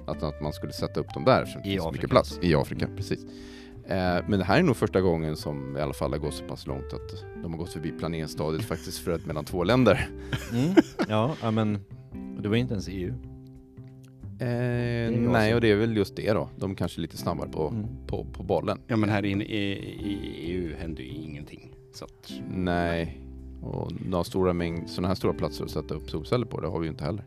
S3: Att, att man skulle sätta upp dem där eftersom det
S2: I
S3: finns så mycket
S2: Afrika.
S3: plats. I Afrika, precis. Eh, men det här är nog första gången som i alla fall har gått så pass långt att de har gått förbi planeringsstadiet faktiskt för att mellan två länder.
S2: Mm. Ja, ja, men det var inte ens E EU.
S3: Eh,
S2: bra
S3: nej,
S2: så.
S3: och det är väl just det då. De kanske är lite snabbare på,
S2: Mm.
S3: på, på bollen.
S1: Ja men här inne i, i EU händer ju ingenting. Så att...
S3: Nej, och några stora mängd, sådana här stora platser att sätta upp solceller på, det har vi ju inte heller.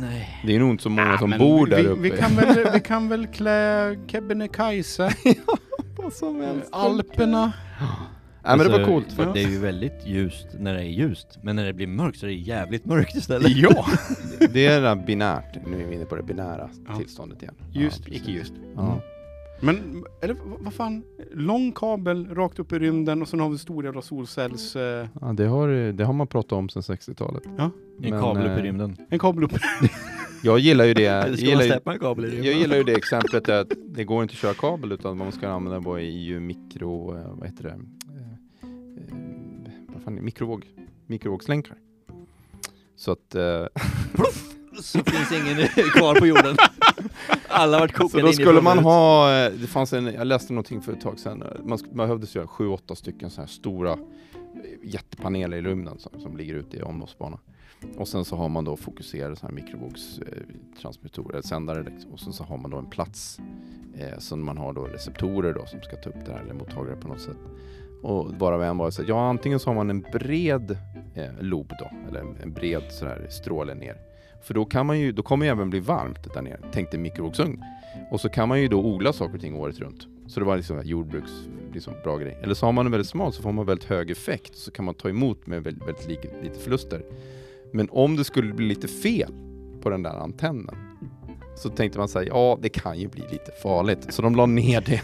S2: Nej.
S3: Det är nog inte så många
S1: Ah,
S3: som
S1: men
S3: bor där
S1: vi,
S3: uppe.
S1: Vi kan väl, vi kan väl klä Kebnekaise, Alperna.
S3: Nej men det var
S2: Alltså,
S3: coolt.
S2: Det är ju väldigt ljust när det är ljust, men när det blir mörkt så är det jävligt mörkt istället.
S3: Ja! Det är det där binärt, nu är vi inne på det binära
S1: Ja.
S3: tillståndet igen.
S1: Just,
S3: Ja, precis.
S1: icke just. Mm.
S3: Ja.
S1: Men, eller v- vad fan, lång kabel rakt upp i rymden och sen har vi stor jävla solcells... Eh,
S3: Ja, det, har, det har man pratat om sedan 60-talet.
S1: Ja.
S2: En
S3: Men,
S2: kabel upp i
S3: eh,
S2: rymden.
S1: en kabel upp.
S3: Jag gillar ju det.
S2: Ska
S3: Jag
S2: man
S3: gillar ju,
S2: släppa en kabel i rymden?
S3: jag gillar ju det exemplet att det går inte att köra kabel utan vad man ska använda var ju mikro... eh, Vad heter det? Eh, eh, Vad fan är det? Mikrovåg. Mikrovågslänkar. Så att... eh,
S2: Så finns ingen kvar på jorden. Alla vart
S3: Så
S2: kokade
S3: Alltså, då skulle
S2: inifrån
S3: man
S2: och ut.
S3: ha, eh, det fanns en, jag läste någonting för ett tag sedan, eh, man sk- man behövde göra sju, åtta stycken så här stora eh, jättepaneler i rymden som, som ligger ute i omloppsbana. Och sen så har man då fokuserade så här mikrovågstransmittorer, eller sändare liksom. och sen så har man då en plats eh, som man har då receptorer då som ska ta upp det här eller mottagare på något sätt. Och varav en var så här, ja antingen så har man en bred eh, lob då, eller en, en bred så här stråle ner. För då kan man ju, då kommer det även bli varmt där nere, tänkte mikrovågsugn. Och så kan man ju då odla saker och ting året runt. Så det var liksom en jordbruks, liksom bra grej. Eller så har man en väldigt smal så får man väldigt hög effekt. Så kan man ta emot med väldigt, väldigt li- lite förluster. Men om det skulle bli lite fel på den där antennen. Så tänkte man säga, ja det kan ju bli lite farligt. Så de la ner det.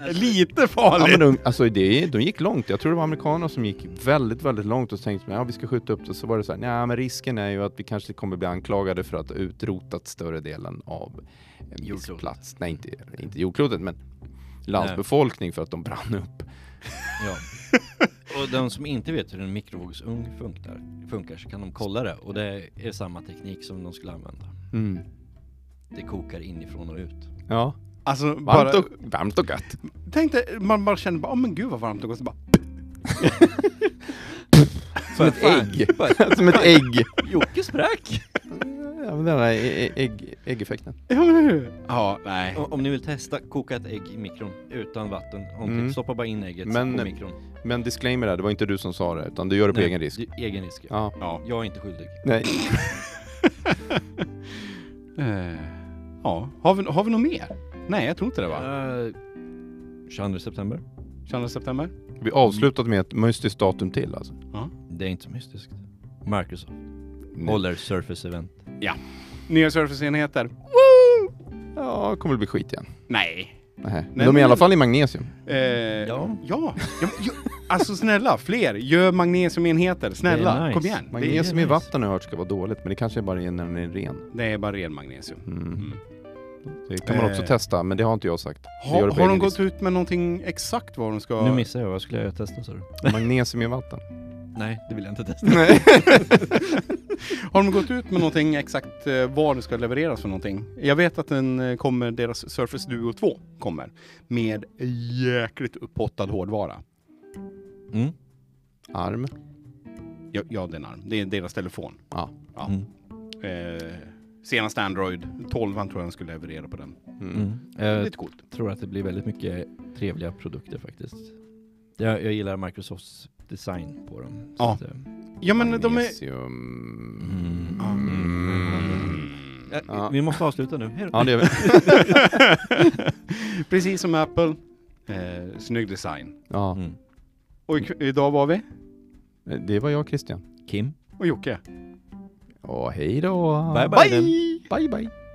S2: Alltså,
S1: Lite
S3: Ja,
S1: farligt.
S3: men de, alltså det, de gick långt. Jag tror det var amerikaner som gick väldigt, väldigt långt och tänkte att ja, vi ska skjuta upp det. Så var det så här, nej men risken är ju att vi kanske kommer bli anklagade för att ha utrotat större delen av en viss
S2: Jordklotet.
S3: plats. Nej, inte, inte jordklotet, men landsbefolkning för att de brann upp.
S2: Ja. Och de som inte vet hur en mikrovågsugn funkar, funkar så kan de kolla det och det är samma teknik som de skulle använda. Det kokar inifrån och ut.
S3: Ja,
S1: Alltså,
S3: varmt,
S1: bara,
S3: och, varmt och gött.
S1: tänk dig, man bara känner bara, oh, men gud vad varmt och gott. Så bara,
S3: Som ett
S2: Fan.
S3: ägg. Som ett ägg.
S2: Jocke sprack!
S3: Ja, men den där ä- ä- ägg, äggeffekten.
S1: ja, men hur? Ja, nej.
S2: Om om ni vill testa, koka ett ägg i mikron utan vatten. Om
S3: Mm.
S2: typ, Stoppa bara in ägget
S3: Men-
S2: på mikron.
S3: Men disclaimer där, det var inte du som sa det, utan du gör det på
S2: Nej,
S3: egen risk.
S2: det är Egen risk.
S3: Ja.
S1: Ja.
S2: Jag är inte skyldig.
S3: Nej.
S1: Eh, ja. Har, vi, har vi något mer? Nej, jag tror inte det va?
S2: Eh, 22 september.
S1: 22 september?
S3: Vi avslutat med ett mystiskt datum till alltså.
S2: Det är inte så mystiskt. Microsoft.
S3: nu.
S2: Håller Surface Event.
S1: Nya surfacenheter?
S3: Ja, det kommer väl bli skit igen.
S1: Nej.
S3: Nähä. Men
S1: Nej,
S3: de är i
S1: men-
S3: alla fall i magnesium.
S1: Eh,
S2: Ja.
S1: ja. Ja, ja, Alltså snälla, fler. Gör magnesiumenheter.
S2: Det är
S1: Snälla,
S2: nice.
S1: kom igen. Det är,
S3: Magnesium i
S2: nice.
S3: vatten har jag hört ska vara dåligt, men det kanske är bara är när den är ren.
S1: det är bara ren magnesium.
S3: Mm.
S1: Mm.
S2: Typ.
S3: Det kan man också
S1: Eh.
S3: testa, men det har inte jag sagt. Det gör
S1: Ha,
S3: det på
S1: har de
S3: egen
S1: gått ut med någonting exakt vad de ska...
S2: Nu missar jag, vad skulle jag testa sa du?
S3: lista. Magnesium i vatten.
S2: Nej, det vill jag inte testa.
S1: Nej. har de gått ut med någonting exakt eh, vad det ska levereras för någonting? Jag vet att den eh, kommer, deras Surface Duo 2 kommer med jäkligt upphottad hårdvara.
S2: Mm.
S3: Arm.
S1: Ja, ja det är en arm. Det är deras telefon.
S3: Ja.
S1: Ja.
S2: Mm.
S1: Eh, senaste Android 12 tror jag de skulle leverera på den.
S3: Mm.
S2: Mm. Jag
S1: Lite coolt.
S2: tror att det blir väldigt mycket trevliga produkter faktiskt. Jag, jag gillar Microsofts design på dem. så
S1: Ja.
S2: att, eh,
S1: Ja men de är...
S3: Magnesium.
S2: Mm.
S3: Mm.
S2: eh,
S3: Ja.
S2: Vi måste avsluta nu. Hej då.
S3: Ja, det gör
S1: Mm.
S3: vi.
S1: Precis som Apple. Eh, snygg design.
S3: Ja.
S2: Mm.
S1: Och ik- idag var vi.
S3: Det var jag, Christian.
S2: Kim.
S1: Och Jocke.
S3: Och hej då!
S2: Bye, bye.
S3: Bye, bye!